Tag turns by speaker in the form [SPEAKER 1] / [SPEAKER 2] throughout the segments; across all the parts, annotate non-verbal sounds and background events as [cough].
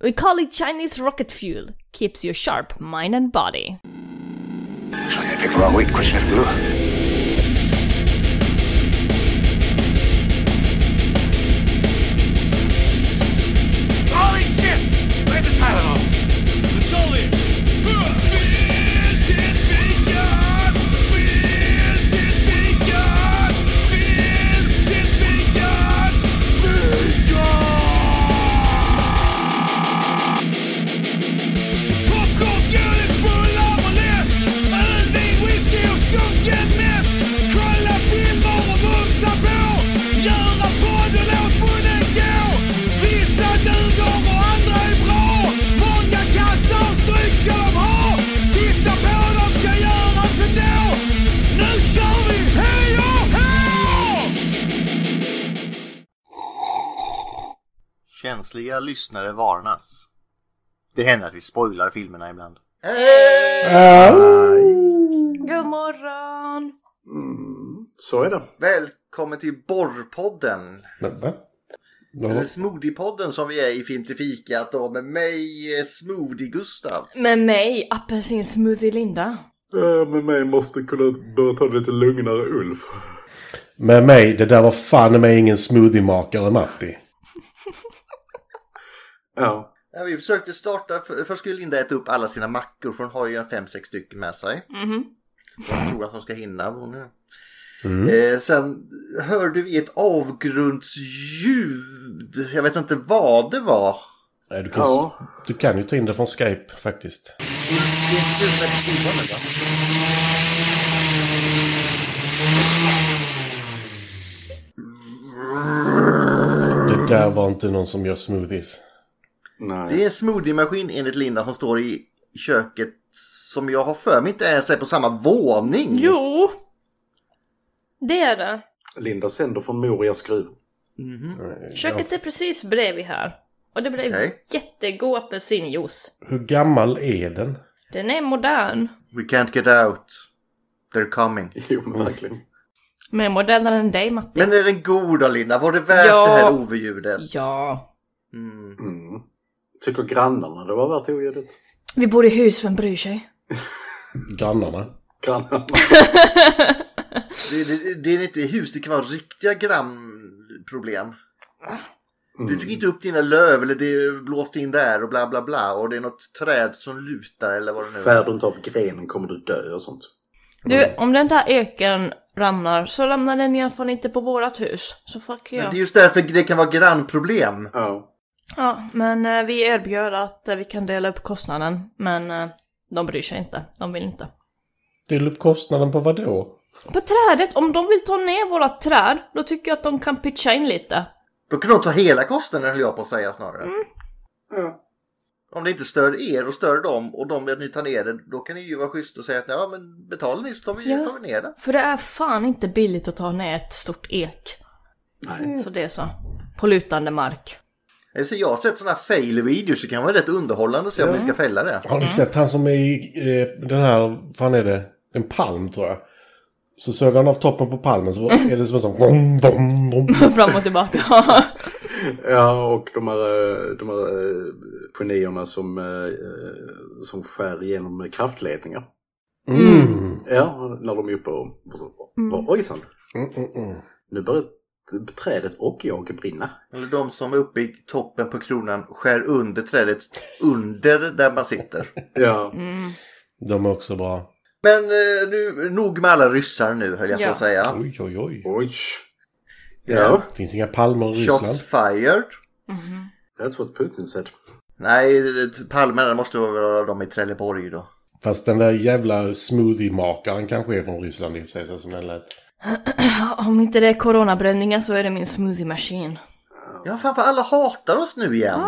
[SPEAKER 1] We call it Chinese rocket fuel. Keeps you sharp, mind and body.
[SPEAKER 2] Sonia tekrar avit koşardı.
[SPEAKER 3] Holy shit! Where's the Tylenol? It's all here. Göra podd och låt munnen gå Vissa duger och andra är bra Många kassar stryk ska de ha Titta på dem ska göras ändå Nu kör vi! Hej och hå!
[SPEAKER 4] Känsliga lyssnare varnas. Det händer att vi spoilar filmerna ibland.
[SPEAKER 1] God morgon!
[SPEAKER 5] Så är det.
[SPEAKER 4] Välkommen till Borrpodden!
[SPEAKER 5] Men, va?
[SPEAKER 4] Eller Smoothiepodden som vi är i Film till fikat och med mig eh, Smoothie-Gustav.
[SPEAKER 1] Med mig, apelsinsmoothie Linda.
[SPEAKER 5] Äh, men mig måste kunna börja ta det lite lugnare Ulf.
[SPEAKER 6] Med mig, det där var fan med ingen smoothiemakare Matti.
[SPEAKER 5] Ja.
[SPEAKER 4] Ja, vi försökte starta, för, först skulle Linda äta upp alla sina mackor för hon har ju en fem, sex stycken med sig. Jag tror att hon ska hinna. Hon är.
[SPEAKER 6] Mm.
[SPEAKER 4] Eh, sen hörde vi ett avgrundsljud. Jag vet inte vad det var.
[SPEAKER 6] Nej, Du kan,
[SPEAKER 5] Ja.
[SPEAKER 6] du kan ju ta in det från Skype faktiskt.
[SPEAKER 4] Det är inte med tibbarna, va?
[SPEAKER 6] Det där var inte någon som gör smoothies.
[SPEAKER 5] Nej.
[SPEAKER 4] Det är en smoothie-maskin enligt Linda som står i köket som jag har för mig inte ens är på samma våning.
[SPEAKER 1] Jo! Det är det.
[SPEAKER 5] Linda sänder från Morias skruv. [laughs]
[SPEAKER 1] Köket är precis bredvid här. Och det blev
[SPEAKER 4] Okej.
[SPEAKER 1] jättegod apelsinjuice.
[SPEAKER 6] Hur gammal är den?
[SPEAKER 1] Den är modern.
[SPEAKER 4] We can't get out. They're coming.
[SPEAKER 5] Jo, men verkligen.
[SPEAKER 1] Mer modernare än dig Matti.
[SPEAKER 4] Men är den god då Linda? Var det värt
[SPEAKER 1] Ja.
[SPEAKER 4] det här overljudet?
[SPEAKER 1] Ja.
[SPEAKER 4] Mm.
[SPEAKER 5] Mm. Tycker grannarna det var värt oljudet?
[SPEAKER 1] Vi bor i hus, vem bryr sig?
[SPEAKER 6] Grannarna?
[SPEAKER 5] [laughs] Grannarna.
[SPEAKER 4] Det, det, det är inte hus, det kan vara riktiga grannproblem. Du fick inte upp dina löv eller det blåste in där och bla bla bla och det är något träd som lutar eller vad det nu är.
[SPEAKER 5] Skär du inte av grenen kommer du dö och sånt.
[SPEAKER 1] Du, om den där öken ramlar så ramlar den i alla fall inte på vårat hus. Så fuck
[SPEAKER 4] Men
[SPEAKER 1] yeah.
[SPEAKER 4] Det är just därför det kan vara grannproblem.
[SPEAKER 5] Ja.
[SPEAKER 1] Ja, men eh, vi erbjöd att eh, vi kan dela upp kostnaden. Men eh, de bryr sig inte. De vill inte.
[SPEAKER 6] Dela upp kostnaden på vad då?
[SPEAKER 1] På trädet, om de vill ta ner våra träd, då tycker jag att de kan pitcha in lite.
[SPEAKER 4] Då kan de ta hela kostnaden höll jag på att säga snarare.
[SPEAKER 1] Mm.
[SPEAKER 5] Ja.
[SPEAKER 4] Om det inte stör er och stör dem och de vill att ni tar ner det, då kan ni ju vara schysst och säga att ja men betalar ni så tar vi,
[SPEAKER 1] Ja.
[SPEAKER 4] tar vi ner det.
[SPEAKER 1] För det är fan inte billigt att ta ner ett stort ek.
[SPEAKER 5] Nej.
[SPEAKER 1] Så det är så. På lutande mark. [laughs]
[SPEAKER 4] Jag, säger, jag har sett sådana fail-videos, så det kan vara rätt underhållande att se om ni ska fälla det.
[SPEAKER 6] Har ni sett han som är i eh, den här, fan är det? En palm tror jag. Så sög han av toppen på palmen så är det som en sån... Vom, vom, vom.
[SPEAKER 1] Fram och tillbaka. [laughs]
[SPEAKER 5] Ja, och de här, eh, de här eh, genierna som, eh, som skär igenom kraftledningar.
[SPEAKER 6] Mm.
[SPEAKER 5] Ja, när de är uppe och, och så. Ojsan,
[SPEAKER 6] Mm, mm, mm.
[SPEAKER 5] nu börjar trädet och jag brinna.
[SPEAKER 4] Eller de som är uppe i toppen på kronan skär under trädet under där man sitter.
[SPEAKER 5] Ja.
[SPEAKER 1] Mm.
[SPEAKER 6] De är också bra.
[SPEAKER 4] Men eh, nu, nog med alla ryssar nu höll jag på
[SPEAKER 1] Ja.
[SPEAKER 4] att säga.
[SPEAKER 6] Oj, oj, oj.
[SPEAKER 5] Oj. Ja,
[SPEAKER 6] Det finns inga palmer i Ryssland.
[SPEAKER 4] Shots fired.
[SPEAKER 5] that's what Putin said.
[SPEAKER 4] Nej, palmerna måste vara de i Trelleborg då.
[SPEAKER 6] Fast den där jävla smoothie-makaren kanske är från Ryssland i och för sig, så som den lät.
[SPEAKER 1] om inte det är coronabränningar så är det min smoothie machine.
[SPEAKER 4] Ja, fan vad alla hatar oss nu igen.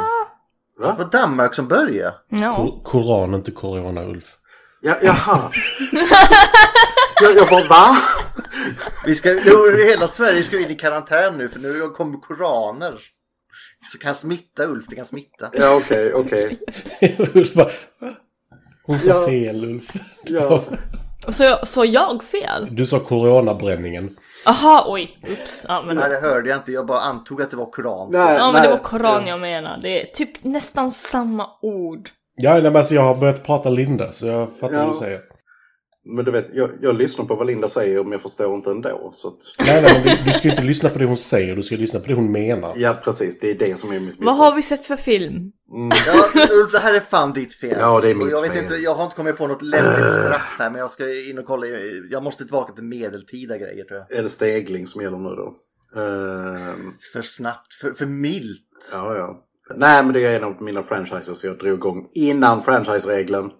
[SPEAKER 4] Det
[SPEAKER 5] Va?
[SPEAKER 4] var Danmark som började.
[SPEAKER 1] Ja.
[SPEAKER 6] Kor- Koran, inte Corona, Ulf. [laughs]
[SPEAKER 5] Ja,
[SPEAKER 1] [laughs]
[SPEAKER 5] jaha. jag, jag bara va?
[SPEAKER 4] Vi ska, nu, hela Sverige ska in i karantän nu för nu kommer koraner. Så kan smitta Ulf, det kan smitta.
[SPEAKER 5] Ja, okej, okej.
[SPEAKER 6] Ulf bara, "Va? Hon sa
[SPEAKER 5] Ja.
[SPEAKER 6] fel, Ulf.
[SPEAKER 5] Ja.
[SPEAKER 1] Så jag, så jag fel?
[SPEAKER 6] [laughs] Du sa coronabränningen.
[SPEAKER 1] Aha, oj, ups. Ja, men,
[SPEAKER 4] Nej, det hörde jag inte. Jag bara antog att det var koran.
[SPEAKER 5] Nej.
[SPEAKER 1] ja, men det var koran jag menade. Det är typ nästan samma ord.
[SPEAKER 6] Ja, nej, men alltså jag har börjat prata linda så jag fattar vad du
[SPEAKER 5] Ja.
[SPEAKER 6] säger.
[SPEAKER 5] Men du vet, jag, jag lyssnar på vad Linda säger men jag förstår inte ändå. Så att,
[SPEAKER 6] Nej, nej, men du, du ska ju inte lyssna på det hon säger, du ska lyssna på det hon menar.
[SPEAKER 5] ja, precis. Det är det som är mitt Mm.
[SPEAKER 1] Vad har vi sett för film?
[SPEAKER 4] Ja, Ulf, det här är fan ditt fel.
[SPEAKER 5] Ja, det är
[SPEAKER 4] Och
[SPEAKER 5] mitt
[SPEAKER 4] jag vet
[SPEAKER 5] fel.
[SPEAKER 4] Inte, jag har inte kommit på något lämpligt straff här, men jag ska in och kolla. Jag måste tillbaka till medeltida grejer tror jag.
[SPEAKER 5] Är det stegling som gäller nu då? Ehm,
[SPEAKER 4] För snabbt, för, för milt.
[SPEAKER 5] ja, ja. Nej, men det är en av mina franchises jag drog igång innan franchise-regeln.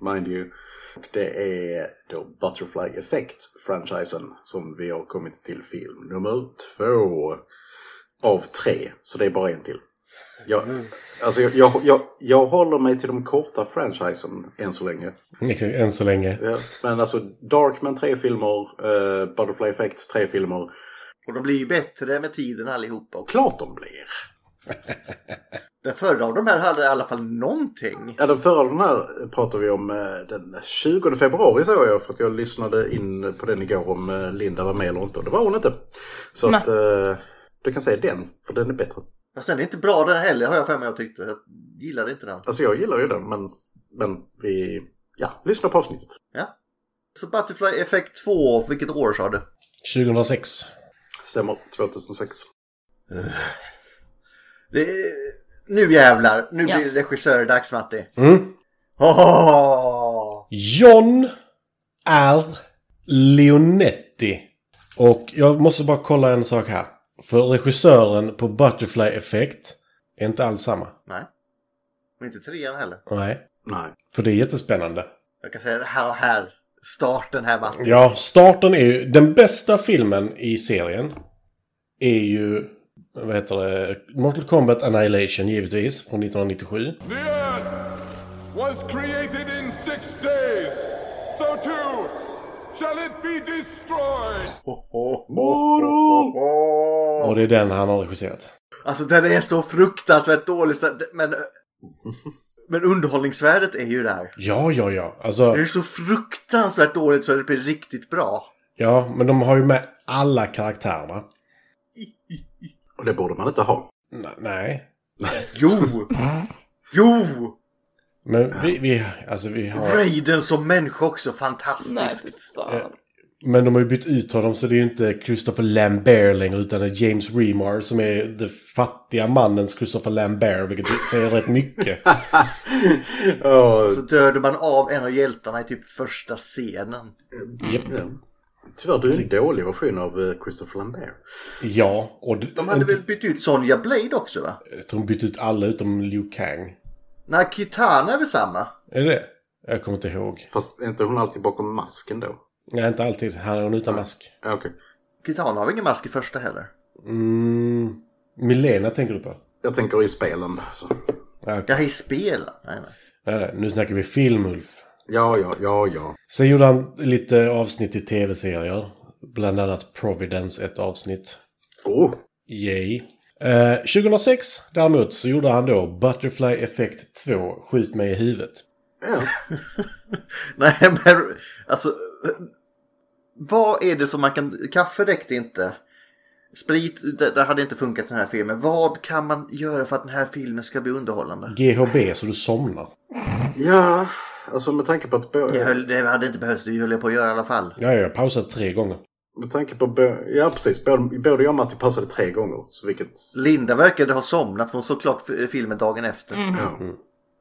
[SPEAKER 5] Mind you. Och det är då Butterfly Effect-franchisen som vi har kommit till film nummer två av tre. Så det är bara en till. Jag, alltså jag, jag, jag, jag håller mig till de korta franchisen än så länge.
[SPEAKER 6] Exakt, Än så länge.
[SPEAKER 5] Ja, men alltså Darkman tre filmer, eh, Butterfly Effect tre filmer.
[SPEAKER 4] Och de blir ju bättre med tiden allihopa. Och
[SPEAKER 5] Klart de blir!
[SPEAKER 4] den förra av de här hade i alla fall någonting.
[SPEAKER 5] Ja, den förra den här pratade vi om eh, den 20 februari såg jag för att jag lyssnade in på den igår om eh, Linda var med eller inte och det var hon inte. Så
[SPEAKER 1] Nej.
[SPEAKER 5] att eh, du kan säga den, för den är bättre.
[SPEAKER 4] Fast den är inte bra den heller har jag för mig jag tyckte. Jag gillade inte den.
[SPEAKER 5] Alltså jag gillar ju den men, men vi, ja, lyssna på avsnittet.
[SPEAKER 4] Ja. Så Butterfly Effect 2, vilket år sa du?
[SPEAKER 6] 2006.
[SPEAKER 5] Stämmer, 2006.
[SPEAKER 4] Det är... Nu jävlar, nu
[SPEAKER 1] Ja.
[SPEAKER 4] blir det regissördags Matti.
[SPEAKER 6] Mm.
[SPEAKER 4] Åh!
[SPEAKER 6] John R. Leonetti. Och jag måste bara kolla en sak här. För regissören på Butterfly Effect är inte alls samma.
[SPEAKER 4] Nej. Och inte trean heller.
[SPEAKER 6] Nej.
[SPEAKER 5] Nej.
[SPEAKER 6] För det är jättespännande.
[SPEAKER 4] Jag kan säga det här och här. Starten här Matti.
[SPEAKER 6] Ja, starten är ju... Den bästa filmen i serien är ju... Vad heter det? Mortal Kombat Annihilation givetvis, från 1997.
[SPEAKER 7] The earth was created in six days. So too shall it be destroyed.
[SPEAKER 5] Moro!
[SPEAKER 4] Åh!
[SPEAKER 6] Och det är den han har regisserat.
[SPEAKER 4] Alltså den är så fruktansvärt dålig så att- men... [laughs] Men underhållningsvärdet är ju där.
[SPEAKER 6] Ja, ja, ja. Alltså,
[SPEAKER 4] Det är så fruktansvärt dåligt så det blir riktigt bra.
[SPEAKER 6] ja, men de har ju med alla karaktärerna.
[SPEAKER 5] Och det borde man inte ha. [laughs]
[SPEAKER 6] N- nej.
[SPEAKER 4] Jo! Jo!
[SPEAKER 6] Men vi, vi, alltså vi har...
[SPEAKER 4] Raiden som människa också,
[SPEAKER 1] Nej,
[SPEAKER 4] fantastiskt.
[SPEAKER 1] fy fan.
[SPEAKER 6] Men de har ju bytt ut honom så det är ju inte Christopher Lambert längre utan det är James Remar som är den fattiga mannens Christopher Lambert vilket säger
[SPEAKER 4] [laughs]
[SPEAKER 6] rätt mycket.
[SPEAKER 5] Ja,
[SPEAKER 4] Så dödar man av en av hjältarna i typ första scenen.
[SPEAKER 6] Japp.
[SPEAKER 5] ja. Tyvärr, du är en dålig version av eh, Christopher Lambert.
[SPEAKER 6] Ja, och d-
[SPEAKER 4] De hade väl bytt ut Sonja Blade också va?
[SPEAKER 6] jag tror de bytt ut alla utom Liu Kang.
[SPEAKER 4] Nej, Kitana är väl samma?
[SPEAKER 6] Är det det? Jag kommer inte ihåg.
[SPEAKER 5] Fast är inte hon alltid bakom masken då?
[SPEAKER 6] Nej, inte alltid. Här är hon utan mask.
[SPEAKER 5] Ja, Okej.
[SPEAKER 4] Kitana har väl ingen mask i första heller?
[SPEAKER 6] Mm, Milena tänker du på?
[SPEAKER 5] Jag tänker i spelen. Så.
[SPEAKER 6] Ja, okej.
[SPEAKER 4] Ja, i spel. Nej, nej.
[SPEAKER 6] Nej, nej, nu snackar vi film, Ulf.
[SPEAKER 5] Ja, ja, ja, ja.
[SPEAKER 6] Sen gjorde han lite avsnitt i tv-serier. Bland annat Providence, ett avsnitt.
[SPEAKER 5] Oh,
[SPEAKER 6] Yay. Eh, 2006 däremot så gjorde han då Butterfly Effect 2, Skjut mig i huvudet.
[SPEAKER 5] ja.
[SPEAKER 4] Nej, men alltså... eh, Vad är det som man kan... Kaffe räckte inte. Sprit, det, det hade inte funkat i den här filmen. Vad kan man göra för att den här filmen ska bli underhållande?
[SPEAKER 6] GHB så du somnar.
[SPEAKER 5] Ja, alltså med tanke på att... Bo-
[SPEAKER 4] Det, höll, det hade inte behövts, det höll jag på att göra i alla fall.
[SPEAKER 6] Ja, jag har pausat tre gånger.
[SPEAKER 5] Med tanke på... Bo- ja, precis. Både, både jag och Matti passade tre gånger. Så vilket...
[SPEAKER 4] Linda verkade ha somnat, för hon såg klart f- filmen dagen efter.
[SPEAKER 5] Ja.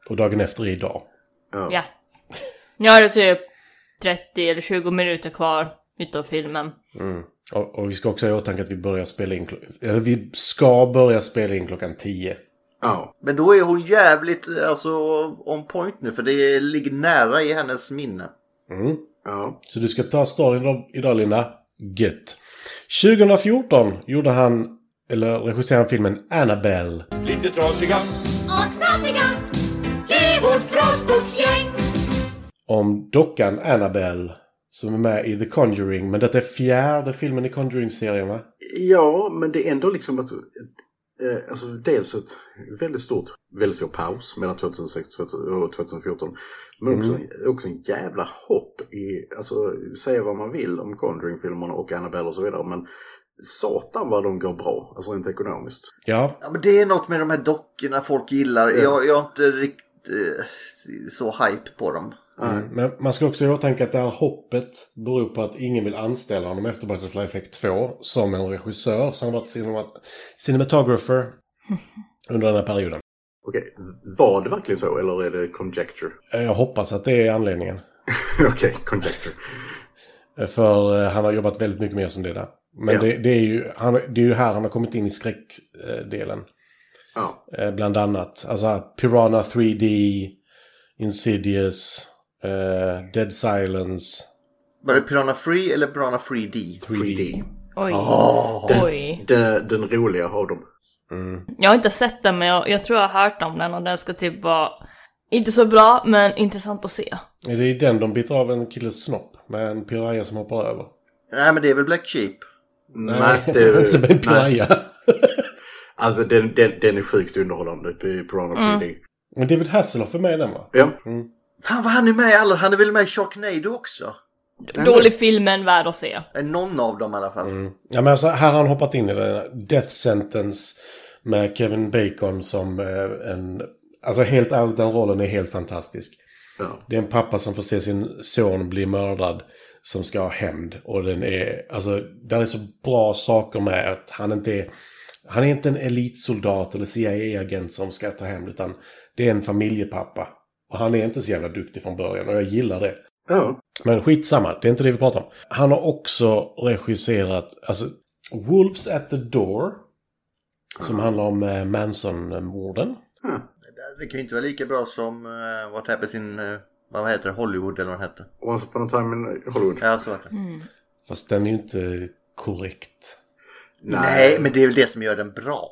[SPEAKER 6] Och dagen efter är idag.
[SPEAKER 1] Ja. Nu har det typ 30 eller 20 minuter kvar utav filmen.
[SPEAKER 6] Och, och vi ska också ha i åtanke att vi börjar spela in... klo- Eller vi ska börja spela in klockan 10.
[SPEAKER 5] ja.
[SPEAKER 4] Men då är hon jävligt eh, alltså, on point nu, för det ligger nära i hennes minne.
[SPEAKER 6] Mm.
[SPEAKER 5] Ja.
[SPEAKER 6] Så du ska ta storyn idag- idag Lina. Gött. 2014 gjorde han, eller regisserade han filmen Annabelle.
[SPEAKER 7] Lite trasiga,
[SPEAKER 8] och knasiga i vårt trasbocksgäng.
[SPEAKER 6] om dockan Annabelle som är med i The Conjuring. Men detta är fjärde filmen i Conjuring-serien va?
[SPEAKER 5] ja, men det är ändå liksom... Alltså, eh, alltså dels ett väldigt stort, väldigt stor paus mellan 2006 och 2014. Men också, också en jävla hopp i, alltså säga vad man vill om Conjuring-filmerna och Annabelle och så vidare. Men satan vad de går bra, alltså rent ekonomiskt.
[SPEAKER 6] Ja,
[SPEAKER 4] Ja, men det är något med de här dockorna folk gillar. Jag, jag är inte riktigt eh, så hype på dem.
[SPEAKER 6] mm. men man ska också ha i åtanke att det här hoppet beror på att ingen vill anställa honom efter Butterfly Effect 2 som en regissör. Så han har varit cinemat- cinematographer under den här perioden.
[SPEAKER 5] Okej, var det verkligen så eller är det conjecture? [laughs]
[SPEAKER 6] Eh, Jag hoppas att det är anledningen.
[SPEAKER 5] Okej, conjecture.
[SPEAKER 6] Eh, För eh, han har jobbat väldigt mycket mer som det där. Men
[SPEAKER 5] Ja.
[SPEAKER 6] det, det, är ju, han, det är ju här han har kommit in i skräckdelen.
[SPEAKER 5] Ja,
[SPEAKER 6] Eh, bland annat. Alltså här, Piranha 3D, Insidious, eh, Dead Silence.
[SPEAKER 4] Var det Piranha Free eller Piranha 3D?
[SPEAKER 5] 3D.
[SPEAKER 1] Oj.
[SPEAKER 4] Ah.
[SPEAKER 1] Oj.
[SPEAKER 5] Den, den roliga av dem.
[SPEAKER 1] Jag har inte sett den men jag, jag tror jag har hört om den och den ska typ vara inte så bra men intressant att se.
[SPEAKER 6] Eh, Det är den de biter av en killes snopp med en piraya som hoppar över.
[SPEAKER 4] Nej, men det är väl Black Sheep.
[SPEAKER 5] Nej, [laughs] det är...
[SPEAKER 6] inte en
[SPEAKER 5] nej.
[SPEAKER 6] piraya.
[SPEAKER 5] Alltså den, den, den är sjukt underhållande, Piranha 3D.
[SPEAKER 6] Men David Hasselhoff är med i den va?
[SPEAKER 5] Ja.
[SPEAKER 4] Fan vad han är med i alla. Han är väl med i Sharknado också?
[SPEAKER 1] Dålig film men värd att se.
[SPEAKER 4] Eh, Någon av dem i alla fall.
[SPEAKER 6] Ja men alltså, här har han hoppat in i den här Death Sentence med Kevin Bacon som eh, en... Alltså helt ärligt, den rollen är helt fantastisk.
[SPEAKER 5] ja.
[SPEAKER 6] Det är en pappa som får se sin son bli mördad som ska ha hämnd. Och den är, alltså, där är så bra saker med att han inte är, han är inte en elitsoldat eller CIA-agent som ska ta hämnd utan det är en familjepappa. Och han är inte så jävla duktig från början och jag gillar det.
[SPEAKER 5] ja.
[SPEAKER 6] Men skitsamma, det är inte det vi pratar om. Han har också regisserat, alltså, Wolves at the Door. Som handlar om eh, Manson-morden.
[SPEAKER 4] Det kan ju inte vara lika bra som uh, What Happens in... eh, vad heter det? Hollywood eller vad den hette.
[SPEAKER 5] Once upon a time in Hollywood.
[SPEAKER 4] Ja, så heter det.
[SPEAKER 1] Mm.
[SPEAKER 6] Fast den är ju inte korrekt.
[SPEAKER 4] Nej, men det är väl det som gör den bra.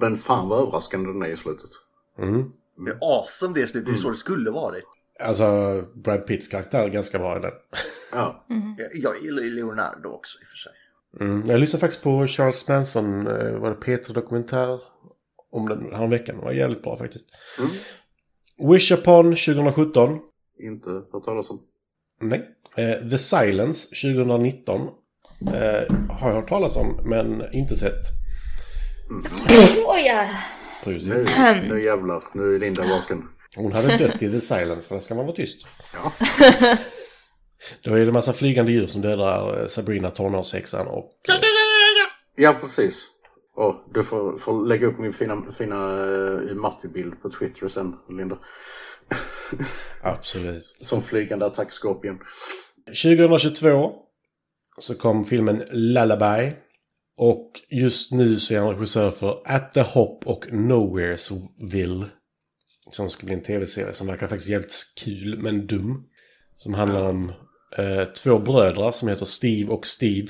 [SPEAKER 5] Men fan vad överraskande den är i slutet.
[SPEAKER 6] Mm.
[SPEAKER 4] Det är awesome det slutet. Det är så det skulle varit.
[SPEAKER 6] Alltså, Brad Pitts karaktär är ganska bra i den.
[SPEAKER 5] Ja.
[SPEAKER 4] Jag, jag gillar ju Leonardo också i och för sig.
[SPEAKER 6] Mm. Jag lyssnade faktiskt på Charles Manson, eh, var det Peter dokumentär om den här veckan. Den var jävligt bra faktiskt.
[SPEAKER 5] Mm.
[SPEAKER 6] Wish Upon 2017.
[SPEAKER 5] Inte hört talas om.
[SPEAKER 6] Nej. Eh, The Silence 2019. Eh, har jag hört talas om, men inte sett.
[SPEAKER 1] Oj, ja.
[SPEAKER 6] Precis. [clears throat]
[SPEAKER 5] Nu, nu jävlar, nu är Linda vaken.
[SPEAKER 6] Hon hade dött i The Silence, för där ska man vara tyst.
[SPEAKER 5] Ja.
[SPEAKER 6] Då är [laughs] det massa flygande djur som dödar eh, Sabrina, tonårshäxan och... eh,
[SPEAKER 5] Ja, precis. Åh, du får, får lägga upp min fina, fina uh, Matti-bild på Twitter sen, Linda. [laughs]
[SPEAKER 6] Absolut.
[SPEAKER 5] Som flygande attackskorpion. [laughs]
[SPEAKER 6] 2022 så kom filmen Lullaby. Och just nu så är han regissör för At the Hop och Nowheresville. Som ska bli en tv-serie som verkar faktiskt jävligt kul men dum. Som handlar om eh, två bröder som heter Steve och Steve.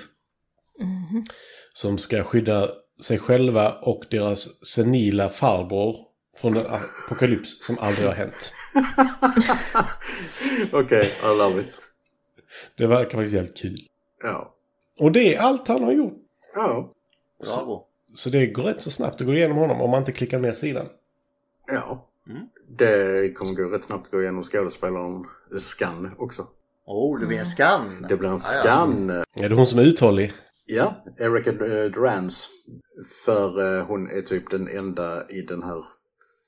[SPEAKER 6] Som ska skydda sig själva och deras senila farbror från en apokalyps som aldrig har hänt.
[SPEAKER 5] Okej, I love it.
[SPEAKER 6] Det verkar faktiskt jävligt kul.
[SPEAKER 5] Ja.
[SPEAKER 6] Och det är allt han har gjort.
[SPEAKER 5] Ja.
[SPEAKER 4] Bravo.
[SPEAKER 6] Så det går rätt så snabbt att gå igenom honom om man inte klickar ner sidan.
[SPEAKER 5] Ja.
[SPEAKER 4] Mm.
[SPEAKER 5] Det kommer gå rätt snabbt att gå igenom skådespelaren Scan också.
[SPEAKER 4] Åh, Oh, det blir en skan.
[SPEAKER 5] Det blir en
[SPEAKER 4] Ja, ja.
[SPEAKER 5] Scan. eh,
[SPEAKER 6] Är det hon som är uthållig?
[SPEAKER 5] Ja, Erica eh, Durans. För eh, hon är typ den enda i den här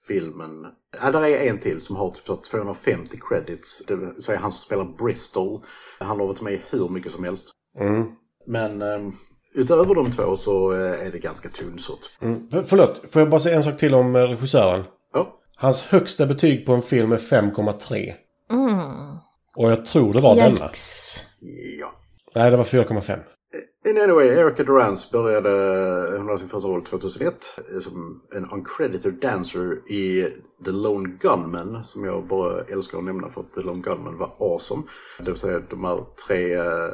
[SPEAKER 5] filmen. Ja, där är en till som har typ så här 250 credits. Det vill säga han som spelar Bristol. Han har varit med i hur mycket som helst.
[SPEAKER 6] Mm.
[SPEAKER 5] Men eh, utöver de två så eh, är det ganska tunnsått.
[SPEAKER 6] Mm. För, förlåt, får jag bara säga en sak till om eh, regissören?
[SPEAKER 5] Ja,
[SPEAKER 6] Hans högsta betyg på en film är 5,3. Och jag tror det var denna.
[SPEAKER 1] Mm. Yikes.
[SPEAKER 5] ja.
[SPEAKER 6] Nej, det var 4,5.
[SPEAKER 5] In anyway, Erica Durance började, hon hade sin första roll 2001 eh, som en uncredited dancer i The Lone Gunman som jag bara älskar att nämna för att The Lone Gunman var awesome. Det vill säga de här tre eh,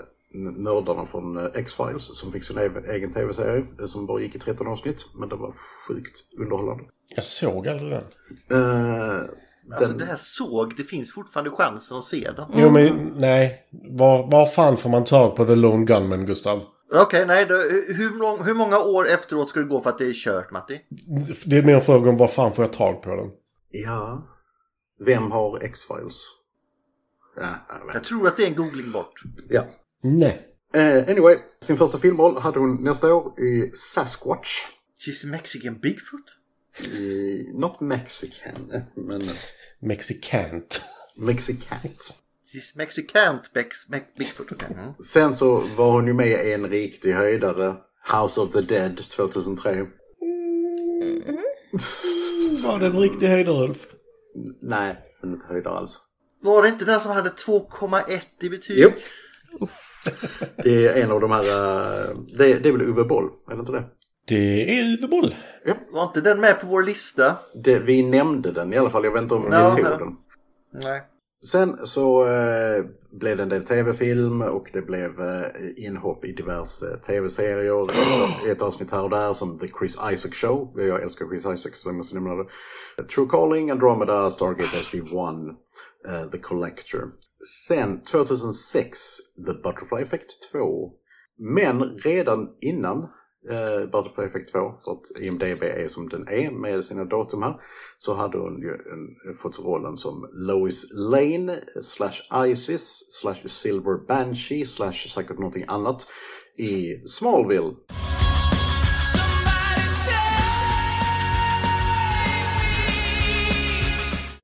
[SPEAKER 5] nördarna från eh, X-Files som fick sin egen, egen tv-serie eh, som bara gick i 13 avsnitt men den var sjukt underhållande.
[SPEAKER 6] Jag såg aldrig den.
[SPEAKER 5] Eh,
[SPEAKER 4] Alltså
[SPEAKER 5] den-
[SPEAKER 4] det här såg, det finns fortfarande chansen att se den.
[SPEAKER 6] Jo, men nej. Var, var fan får man tag på The Lone Gunman, Gustav?
[SPEAKER 4] Okej, nej. Då, hur, mång- hur många år efteråt ska det gå för att det är kört, Matti?
[SPEAKER 6] Det är mer en fråga om var fan får jag tag på den?
[SPEAKER 5] Ja. Vem har X-Files? Ja, jag vet.
[SPEAKER 4] Jag tror att det är en googling bort.
[SPEAKER 5] ja.
[SPEAKER 6] Nej.
[SPEAKER 5] Eh, anyway, sin första filmroll hade hon nästa år i Sasquatch.
[SPEAKER 4] She's Mexican Bigfoot?
[SPEAKER 5] I, not Mexican, eh, men
[SPEAKER 6] Mexikant.
[SPEAKER 5] Mexicant.
[SPEAKER 4] She's Mexicant Bex, Mex, Bigfoot. okej. Mm.
[SPEAKER 5] Sen så var hon ju med i en riktig höjdare, House of the Dead 2003.
[SPEAKER 6] Var det en riktig höjdare, Ulf?
[SPEAKER 5] [laughs] Nej, hon är inte höjdare alls.
[SPEAKER 4] Var det inte den som hade 2,1 i betyg?
[SPEAKER 5] Jo. Det är en av de här... eh, Det, det är väl Uwe Boll, är det inte det?
[SPEAKER 6] Det är Uwe Boll.
[SPEAKER 4] Var inte den med på vår lista?
[SPEAKER 5] det? Vi nämnde den i alla fall, jag vet inte om
[SPEAKER 4] Ja,
[SPEAKER 5] vi
[SPEAKER 4] ja.
[SPEAKER 5] tog den.
[SPEAKER 4] Nej.
[SPEAKER 5] Sen så eh, blev det en del tv-film och det blev eh, inhopp i diverse eh, tv-serier. Ett, ett avsnitt här och där som The Chris Isaac Show. Jag älskar Chris Isaac så jag måste nämna det. True Calling, Andromeda, Stargate SG-1, eh, The Collector. Sen 2006, The Butterfly Effect 2. Men redan innan eh, Butterfly Effect 2, för att IMDB är som den är med sina datum här, så hade hon ju en, fått rollen som Lois Lane, slash Isis, slash Silver Banshee, slash säkert någonting annat i Smallville.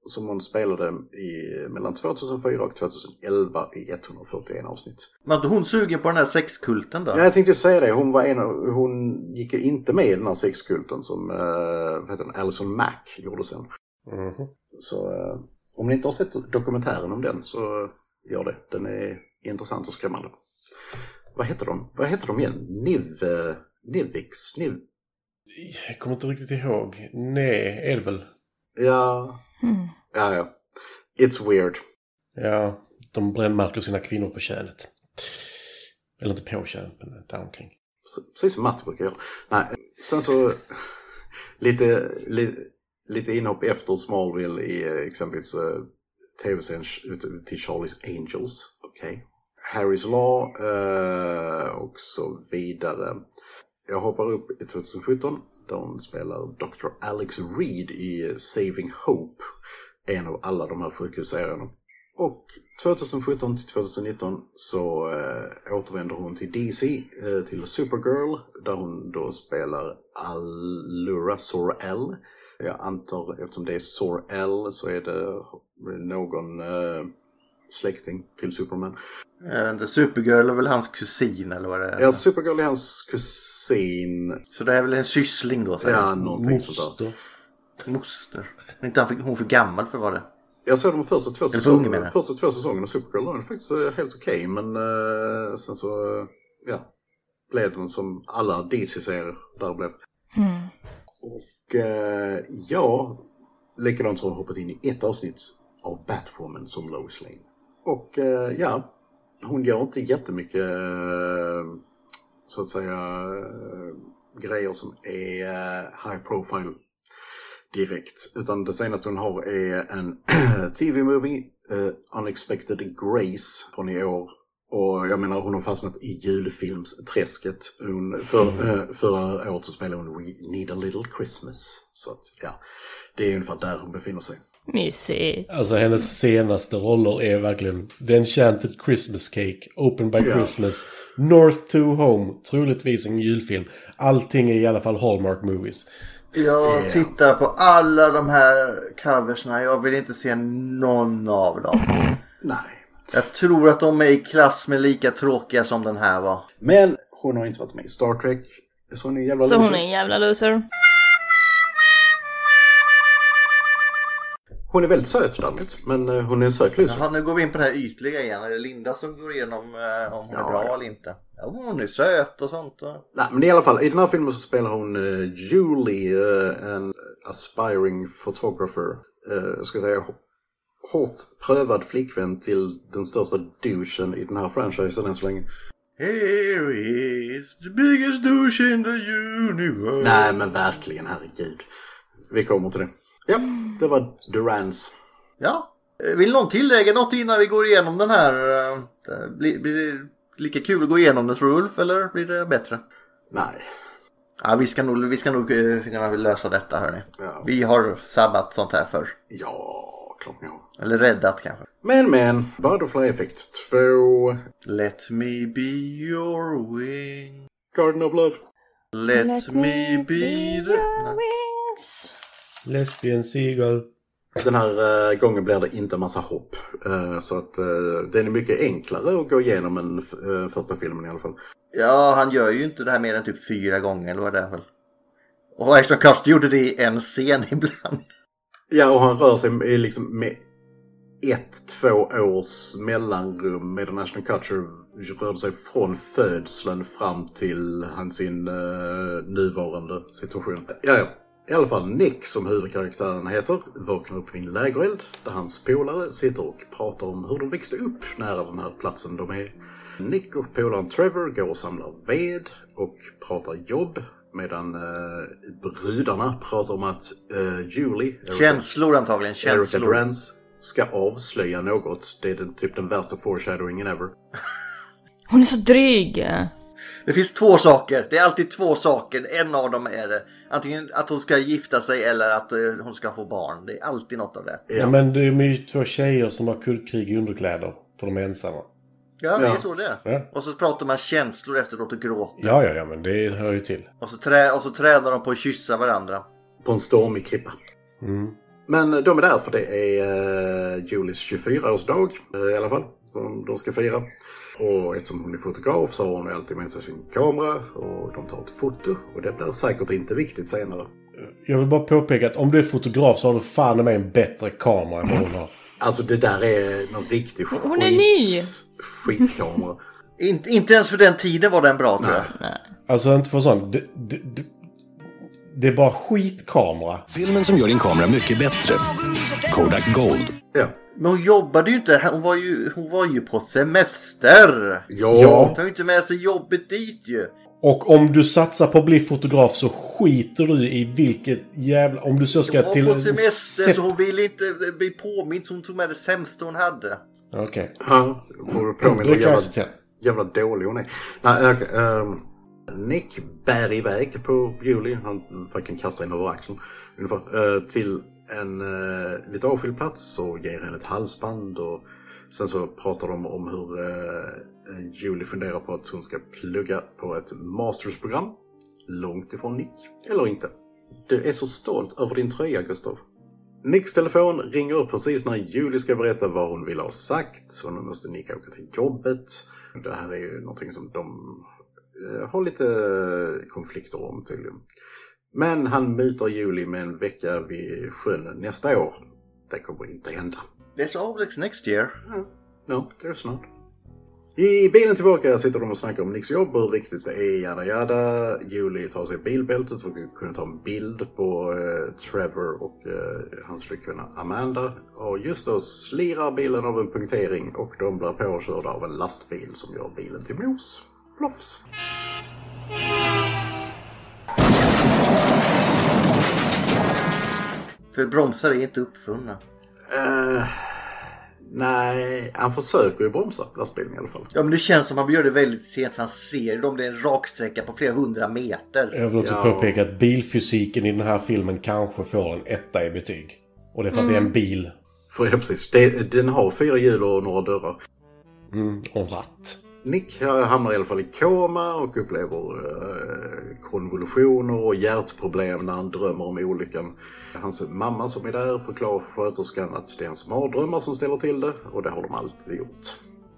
[SPEAKER 5] Som hon spelade i, mellan 2004 och 2011 i 141 avsnitt.
[SPEAKER 4] Var inte hon sugen på den här sexkulten då?
[SPEAKER 5] Ja, jag tänkte ju säga det. Hon, var en, av- hon gick ju inte med i den här sexkulten som eh, vad heter hon? Alison Mack gjorde sen.
[SPEAKER 6] Mhm.
[SPEAKER 5] Så eh, om ni inte har sett dokumentären om den så eh, gör det. Den är intressant och skrämmande. Vad heter de? Vad heter de igen? Niv... eh, Nivix? Niv...
[SPEAKER 6] Jag kommer inte riktigt ihåg. Nej, är det väl?
[SPEAKER 5] Ja...
[SPEAKER 1] Mm.
[SPEAKER 5] Ja, ja. It's weird.
[SPEAKER 6] Ja, de brännmärker sina kvinnor på könet. Eller inte på könet, men där omkring.
[SPEAKER 5] Precis som Matti brukar göra. Nej, sen så [laughs] lite, li, lite inhopp efter Smallville i eh, exempelvis eh, tv-serien Ch- till Charlie's Angels. Okej. Harry's Law eh, och så vidare. Jag hoppar upp i 2017. Där hon spelar Dr. Alex Reed i Saving Hope. En av alla de här sjukhusserierna. Och 2017 till 2019 så eh, återvänder hon till DC, eh, till Supergirl, där hon då spelar Allura Sor-El. Jag antar, eftersom det är Sor-El så är det någon eh, släkting till Superman.
[SPEAKER 4] Eh, The Supergirl är väl hans kusin eller vad det är?
[SPEAKER 5] Ja, Supergirl är hans kusin.
[SPEAKER 4] Så det är väl en syssling då? Säger
[SPEAKER 5] Ja,
[SPEAKER 4] jag.
[SPEAKER 5] någonting sånt där.
[SPEAKER 6] Moster.
[SPEAKER 4] Moster. Men Inte han för, hon för gammal för vad det
[SPEAKER 5] Jag såg de första två,
[SPEAKER 4] för ung, menar
[SPEAKER 5] säsongerna,
[SPEAKER 4] jag.
[SPEAKER 5] första två säsongerna av Supergirl. Den är faktiskt eh, helt okej, men eh, sen så eh, ja, blev den som alla DC-serier där blev.
[SPEAKER 1] Mm.
[SPEAKER 5] Och eh, ja, likadant så har jag hoppat in i ett avsnitt av Batwoman som Lois Lane. Och eh, ja, hon gör inte jättemycket eh, så att säga eh, grejer som är eh, high profile direkt. Utan det senaste hon har är en [clears throat] TV-movie, eh, Unexpected Grace från i år. Och jag menar hon har fastnat i julfilmsträsket. Hon, för, eh, förra året så spelade hon We Need a Little Christmas. Så att ja, det är ungefär där hon befinner sig.
[SPEAKER 1] Mysigt.
[SPEAKER 6] Alltså hennes senaste roller är verkligen The Enchanted Christmas Cake, Open by Christmas, North to Home, troligtvis en julfilm. Allting är i alla fall Hallmark Movies.
[SPEAKER 4] Jag tittar på alla de här coversna. Jag vill inte se någon av dem.
[SPEAKER 5] Nej.
[SPEAKER 4] Jag tror att de är i klass med lika tråkiga som den här var.
[SPEAKER 5] Men hon har inte varit med i Star Trek. Så hon är en jävla
[SPEAKER 1] Så
[SPEAKER 5] loser.
[SPEAKER 1] hon är en jävla loser.
[SPEAKER 5] hon är väldigt söt däremot. Men eh, hon är en söt loser.
[SPEAKER 4] Jaha, nu går vi in på det här ytliga igen. Är det Linda som går igenom eh, om hon är
[SPEAKER 5] Ja,
[SPEAKER 4] bra
[SPEAKER 5] ja.
[SPEAKER 4] eller inte? Ja, hon är söt och sånt. Och...
[SPEAKER 5] Nej, men i alla fall, i den här filmen så spelar hon eh, Julie, eh, en aspiring photographer. Eh, jag ska säga hå- hårt prövad flickvän till den största douchen i den här franchisen än så länge.
[SPEAKER 4] Here is the biggest douche in the universe.
[SPEAKER 5] Nej, men verkligen, herregud. Vi kommer till det. Ja, det var Durans.
[SPEAKER 4] Ja. Eh, Vill någon tillägga något innan vi går igenom den här? eh, blir- Blir det Lika kul att gå igenom den tror Ulf, eller blir det bättre?
[SPEAKER 5] Nej.
[SPEAKER 4] Ja, vi ska nog, vi ska nog eh, kunna lösa detta hörni.
[SPEAKER 5] Ja.
[SPEAKER 4] Vi har sabbat sånt här förr.
[SPEAKER 5] Ja, klart ni har.
[SPEAKER 4] Eller räddat kanske.
[SPEAKER 5] Men men, Butterfly Effect 2,
[SPEAKER 4] Let me be your wing.
[SPEAKER 5] Garden of Love.
[SPEAKER 4] Let, me be the... Nej.
[SPEAKER 1] wings.
[SPEAKER 6] Lesbian Seagull.
[SPEAKER 5] Den här eh, gången blir det inte en massa hopp. Eh, så att eh, den är mycket enklare att gå igenom än eh, första filmen i alla fall.
[SPEAKER 4] Ja, han gör ju inte det här mer än typ fyra gånger eller vad det är väl. Och Ashton Kutcher gjorde det i en scen [laughs] ibland.
[SPEAKER 5] Ja, och han rör sig med- liksom med ett, två års mellanrum medan Ashton Kutcher rörde sig från födseln fram till hans sin eh, nuvarande situation. Ja, ja. I alla fall Nick, som huvudkaraktären heter, vaknar upp vid en lägereld där hans polare sitter och pratar om hur de växte upp nära den här platsen de är. Nick och polaren Trevor går och samlar ved och pratar jobb medan eh, brudarna pratar om att eh, Julie...
[SPEAKER 4] Känslor antagligen,
[SPEAKER 5] Erica
[SPEAKER 4] känslor.
[SPEAKER 5] Durance ska avslöja något. Det är den, typ den värsta foreshadowingen ever.
[SPEAKER 1] Hon är så dryg.
[SPEAKER 4] Det finns två saker. Det är alltid två saker. En av dem är det. Antingen att hon ska gifta sig eller att eh, hon ska få barn. Det är alltid något av det.
[SPEAKER 6] Ja. men det är ju två tjejer som har kuddkrig i underkläder. För de är ensamma.
[SPEAKER 4] Ja, det är
[SPEAKER 5] Ja.
[SPEAKER 4] så det är.
[SPEAKER 6] Ja.
[SPEAKER 4] Och så pratar man känslor efteråt och gråter.
[SPEAKER 6] Ja, ja, ja, men det hör ju till.
[SPEAKER 4] Och, så trä- och så tränar de på att kyssa varandra.
[SPEAKER 5] På en stormig klippa.
[SPEAKER 6] Mm.
[SPEAKER 5] Men eh, de är där för det är eh, Julies 24-årsdag eh, i alla fall. Som de ska fira. Och eftersom hon är fotograf så har hon alltid med sig sin kamera. Och de tar ett foto. Och det blir säkert inte viktigt senare.
[SPEAKER 6] Jag vill bara påpeka att om du är fotograf så har du fan i mig en bättre kamera än vad hon har.
[SPEAKER 5] Alltså det där är någon riktig skit,
[SPEAKER 1] Hon är ny!
[SPEAKER 5] skitkamera.
[SPEAKER 4] In- inte ens för den tiden var den bra tror jag.
[SPEAKER 6] Alltså inte för sånt. Det, det, det, det är bara skitkamera.
[SPEAKER 9] Filmen som gör din kamera mycket bättre. Kodak Gold.
[SPEAKER 5] Ja.
[SPEAKER 4] Men hon jobbade ju inte. Hon var ju, hon var ju på semester.
[SPEAKER 5] Ja.
[SPEAKER 6] Ja.
[SPEAKER 4] Hon tar ju inte med sig jobbet dit ju.
[SPEAKER 6] Och om du satsar på att bli fotograf så skiter du i vilket jävla... Om du så ska
[SPEAKER 4] Hon
[SPEAKER 6] till...
[SPEAKER 4] var på semester
[SPEAKER 6] Sätt-
[SPEAKER 4] så hon ville inte eh, bli påmind så hon tog med det sämsta hon hade.
[SPEAKER 6] Okej.
[SPEAKER 5] Ja, får du påminna
[SPEAKER 6] Då
[SPEAKER 5] hur
[SPEAKER 6] kan jag
[SPEAKER 5] jävla,
[SPEAKER 6] acceptera.
[SPEAKER 5] jävla dålig hon är. Nej, okej. ehm, Nick bär iväg på Julie, han fucking kastar henne över axeln, ungefär, eh, till en eh, lite avskild plats och ger henne ett halsband. Och sen så pratar de om hur eh, Julie funderar på att hon ska plugga på ett mastersprogram. Långt ifrån Nick, eller inte. Du är så stolt över din tröja, Gustav. Nicks telefon ringer upp precis när Julie ska berätta vad hon vill ha sagt. Så nu måste Nick åka till jobbet. Det här är ju någonting som de eh, har lite konflikter om tydligen. Men han mutar Julie med en vecka vid sjön nästa år. Det kommer inte hända.
[SPEAKER 4] There's always next year.
[SPEAKER 5] No, there's not. I bilen tillbaka sitter de och snackar om Nicks jobb, hur viktigt det är, jada jada. Julie tar sig bilbältet för att kunna ta en bild på eh, Trevor och eh, hans flickvän Amanda. Och just då slirar bilen av en punktering och de blir påkörda av en lastbil som gör bilen till mos. Plofs!
[SPEAKER 4] För bromsar är inte uppfunna.
[SPEAKER 5] Eh, nej, han försöker ju bromsa lastbilen i alla fall.
[SPEAKER 4] Ja men det känns som att han gör det väldigt sent för han ser dem. Det är en raksträcka på flera hundra meter.
[SPEAKER 6] Jag vill också
[SPEAKER 5] Ja.
[SPEAKER 6] påpeka att bilfysiken i den här filmen kanske får en etta i betyg. Och det är för att det
[SPEAKER 4] Mm.
[SPEAKER 6] är en bil.
[SPEAKER 5] För ja, precis, det, den har fyra hjul och några dörrar.
[SPEAKER 6] Mm, och en ratt.
[SPEAKER 5] Nick hamnar i alla fall i koma och upplever eh, konvulsioner och hjärtproblem när han drömmer om olyckan. Hans mamma som är där förklarar för sköterskan att det är hans mardrömmar som ställer till det och det har de alltid gjort.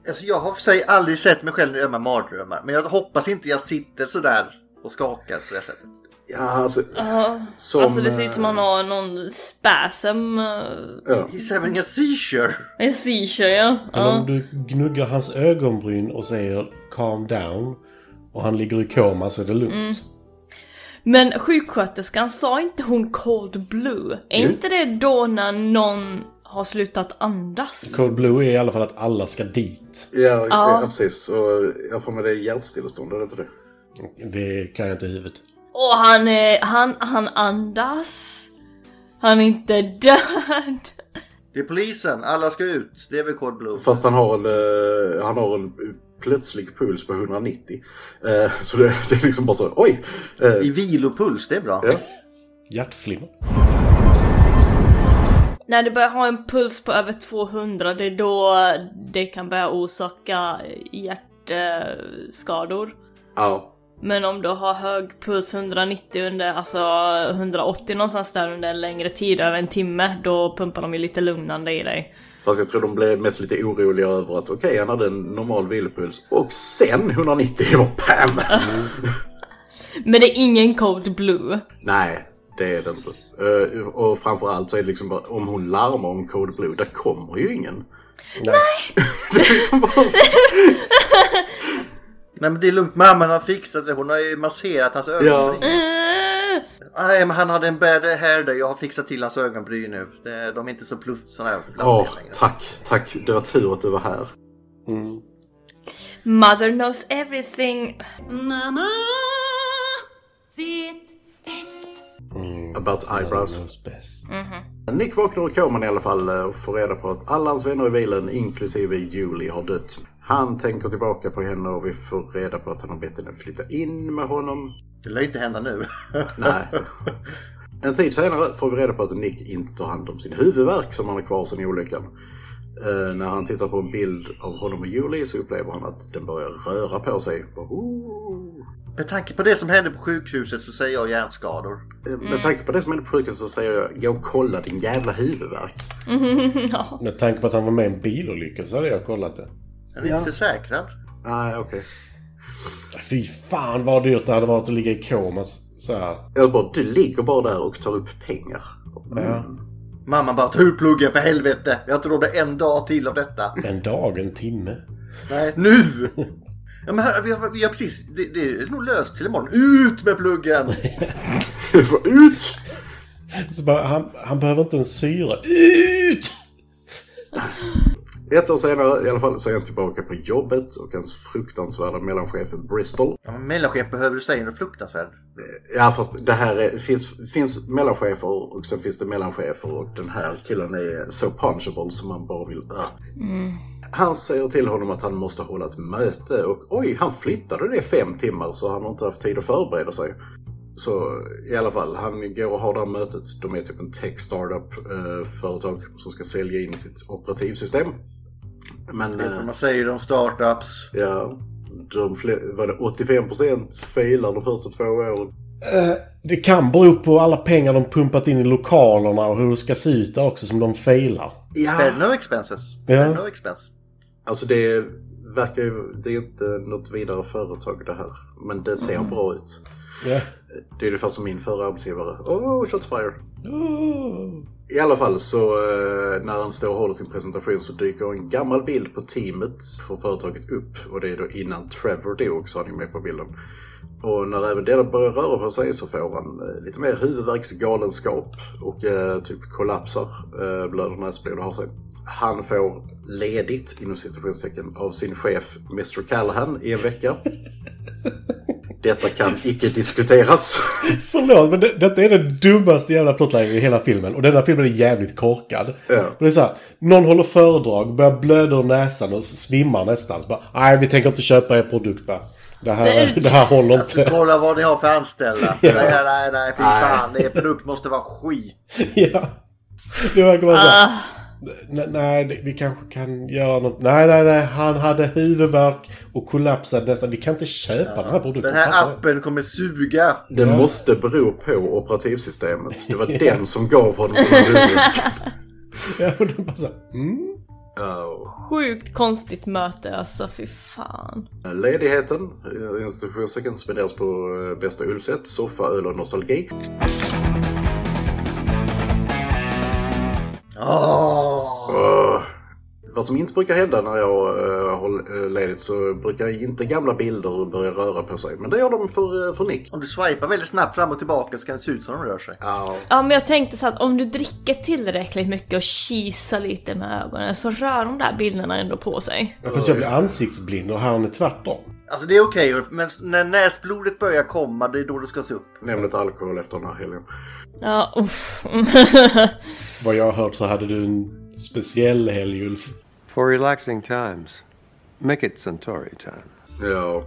[SPEAKER 4] Alltså, jag har för sig aldrig sett mig själv i ömma mardrömmar. Men jag hoppas inte jag sitter sådär och skakar på det sättet.
[SPEAKER 5] Ja, alltså... som,
[SPEAKER 1] alltså det ser ut
[SPEAKER 5] eh,
[SPEAKER 1] som han har någon spasm. eh,
[SPEAKER 5] Ja.
[SPEAKER 4] He's having a seizure.
[SPEAKER 1] En seizure ja.
[SPEAKER 6] Men om
[SPEAKER 1] ja.
[SPEAKER 6] du gnuggar hans ögonbryn och säger calm down och han ligger i koma så är det lugnt.
[SPEAKER 4] Mm.
[SPEAKER 1] Men sjuksköterskan sa inte hon cold blue? Är
[SPEAKER 5] Jo.
[SPEAKER 1] inte det då när någon har slutat andas?
[SPEAKER 6] Cold Blue är i alla fall att alla ska dit.
[SPEAKER 5] Ja,
[SPEAKER 1] Ja.
[SPEAKER 5] ja, precis. Och jag får med det är hjärtstillestånd, är det inte det?
[SPEAKER 6] Det kan jag inte i huvudet.
[SPEAKER 1] Och han är, han, han andas. Han är inte [laughs] död.
[SPEAKER 4] Det är polisen. Alla ska ut. Det är väl kod blue.
[SPEAKER 5] Fast han har en, eh, han har en plötslig puls på 190. Eh, så det, det är liksom bara så, oj! Eh,
[SPEAKER 4] I vilopuls, det är bra.
[SPEAKER 5] ja.
[SPEAKER 6] Hjärtflimmer.
[SPEAKER 1] När du börjar ha en puls på över 200, det är då det kan börja orsaka hjärtskador.
[SPEAKER 5] ja.
[SPEAKER 1] Men om du har hög puls 190 under, alltså 180 någonstans där under en längre tid, över en timme, då pumpar de ju lite lugnande i dig.
[SPEAKER 5] Fast jag tror de blev mest lite oroliga över att okej, han hade en normal vilopuls och sen 190 och PAM!
[SPEAKER 1] Men det är ingen cold blue.
[SPEAKER 5] Nej, det är det inte. Eh, och framförallt så är det liksom bara om hon larmar om Code Blue, där kommer ju ingen.
[SPEAKER 6] Nej.
[SPEAKER 5] [laughs] Det är liksom bara så,
[SPEAKER 4] Nej men det är lugnt, mamman har fixat det. Hon har ju masserat hans ögonbryn.
[SPEAKER 1] Eh,
[SPEAKER 4] Nej men han hade en bad hair day. Jag har fixat till hans ögonbryn nu. Det- De är inte så pluff såna här
[SPEAKER 5] ja,
[SPEAKER 4] flammiga längre.
[SPEAKER 5] tack, tack. Det var tur att du var här.
[SPEAKER 1] Mother knows everything.
[SPEAKER 8] Mamma vet bäst.
[SPEAKER 5] About eyebrows.
[SPEAKER 6] Knows best.
[SPEAKER 5] Nick vaknar ur koman i alla fall eh, och får reda på att alla hans vänner i bilen, inklusive Julie, har dött. Han tänker tillbaka på henne och vi får reda på att han har bett henne flytta in med honom.
[SPEAKER 4] Det lär ju inte hända nu. [laughs]
[SPEAKER 5] Nej. En tid senare får vi reda på att Nick inte tar hand om sin huvudvärk som han har kvar sedan olyckan. Eh, när han tittar på en bild av honom och Julie så upplever han att den börjar röra på sig. Bara, "Oh." "Ooh."
[SPEAKER 4] Med tanke på det som hände på sjukhuset så säger jag hjärnskador.
[SPEAKER 5] Eh, Med tanke på det som hände på sjukhuset så säger jag gå och kolla din jävla huvudvärk.
[SPEAKER 1] Ja.
[SPEAKER 6] Med tanke på att han var med i en bilolycka så hade jag kollat det.
[SPEAKER 4] Är du inte försäkrad?
[SPEAKER 5] Nej, okej.
[SPEAKER 6] Fy fan vad dyrt det hade varit att ligga i koma s- så här.
[SPEAKER 5] Eller bara, du ligger bara där och tar upp pengar.
[SPEAKER 4] Mamman bara, ta ur pluggen för helvete! Jag inte rådde en dag till av detta.
[SPEAKER 6] En dag, en timme.
[SPEAKER 4] Nej, nu! Ja, men här, vi, har, vi har precis, det, det är nog löst till imorgon. Ut med pluggen!
[SPEAKER 5] Ut!
[SPEAKER 6] Så bara, han, han behöver inte en syra. Ut!
[SPEAKER 5] Ett år senare i alla fall så är han tillbaka på jobbet och hans fruktansvärda mellanchef Bristol
[SPEAKER 4] Ja, men mellanchef behöver du säga något fruktansvärt.
[SPEAKER 5] Ja fast det här är, finns, finns mellanchefer och sen finns det mellanchefer och den här killen är så punchable som man bara vill... Äh. Han säger till honom att han måste hålla ett möte och oj, han flyttade det fem timmar så han har inte haft tid att förbereda sig. Så i alla fall, han går och har det här mötet. De är typ en tech startup eh, företag som ska sälja in sitt operativsystem. Men,
[SPEAKER 4] Det är
[SPEAKER 5] eh,
[SPEAKER 4] som man säger om startups.
[SPEAKER 5] ja, de fle- var det 85% failar de första två åren.
[SPEAKER 6] Det kan bero på alla pengar de pumpat in i lokalerna och hur det ska se ut där också som de failar.
[SPEAKER 5] Ja.
[SPEAKER 4] Spare no expenses.
[SPEAKER 6] Ja.
[SPEAKER 4] Spare no expense.
[SPEAKER 5] Alltså det verkar ju, det är inte något vidare företag det här. Men det ser bra ut.
[SPEAKER 6] Ja.
[SPEAKER 5] Det är ungefär som min förra arbetsgivare. Oh, shots fire! I alla fall så eh, när han står och håller sin presentation så dyker en gammal bild på teamet för företaget upp. Och det är då innan Trevor dog så han är med på bilden. Och när även det börjar röra på sig så får han eh, lite mer huvudvärksgalenskap och eh, typ kollapsar, eh, blöder näsblod och har sig. Han får ledigt, inom citationstecken, av sin chef Mr Callahan i en vecka. Detta kan icke diskuteras.
[SPEAKER 6] Förlåt, men det, detta är den dummaste jävla plotlinjen i hela filmen. Och denna filmen är jävligt korkad.
[SPEAKER 5] Ja.
[SPEAKER 6] Men Det är så här, någon håller föredrag, börjar blöda ur näsan och svimmar nästan. Så bara, nej vi tänker inte köpa er produkt va. Det här, det här håller
[SPEAKER 4] Alltså
[SPEAKER 6] inte.
[SPEAKER 4] kolla vad ni har för anställda. Nej, nej, nej, fy fan. Er produkt måste vara skit.
[SPEAKER 6] [laughs] ja. Det verkar vara så.
[SPEAKER 4] Ah.
[SPEAKER 6] här, "Nej, Nej, det- vi kanske kan göra något. Nej, nej, nej. Han hade huvudvärk och kollapsade nästan. Vi kan inte köpa den här produkten.
[SPEAKER 4] Den här
[SPEAKER 6] Fattar du?
[SPEAKER 4] appen kommer suga.
[SPEAKER 5] Det måste bero på operativsystemet. Det var den som gav honom den här huvudvärken.
[SPEAKER 6] [laughs] Ja, och det är bara så här, mm.
[SPEAKER 5] Ja,
[SPEAKER 1] Sjukt konstigt möte alltså, fy fan.
[SPEAKER 5] Ledigheten, eh, institutionstecken, spenderas på eh, bästa Ulfset, soffa, öl och nostalgi.
[SPEAKER 4] Åh!
[SPEAKER 5] Öh. Vad som inte brukar hända när jag eh, håller eh, ledigt så brukar inte gamla bilder börja röra på sig. Men det gör de för, eh, för Nick.
[SPEAKER 4] Om du swipar väldigt snabbt fram och tillbaka så kan det se ut som de rör sig.
[SPEAKER 5] Ja.
[SPEAKER 1] Ja men jag tänkte så att om du dricker tillräckligt mycket och kisar lite med ögonen så rör de där bilderna ändå på sig.
[SPEAKER 6] Ja, Fast jag blir ansiktsblind och han är tvärtom.
[SPEAKER 4] Alltså det är okej, men när näsblodet börjar komma, det är då du ska se upp.
[SPEAKER 5] Nämligen alkohol efter den här helgen.
[SPEAKER 1] Ja, uff. [laughs]
[SPEAKER 6] Vad jag har hört så hade du en speciell helg Ulf.
[SPEAKER 10] For relaxing times, Make it Centauri time.
[SPEAKER 5] Ja,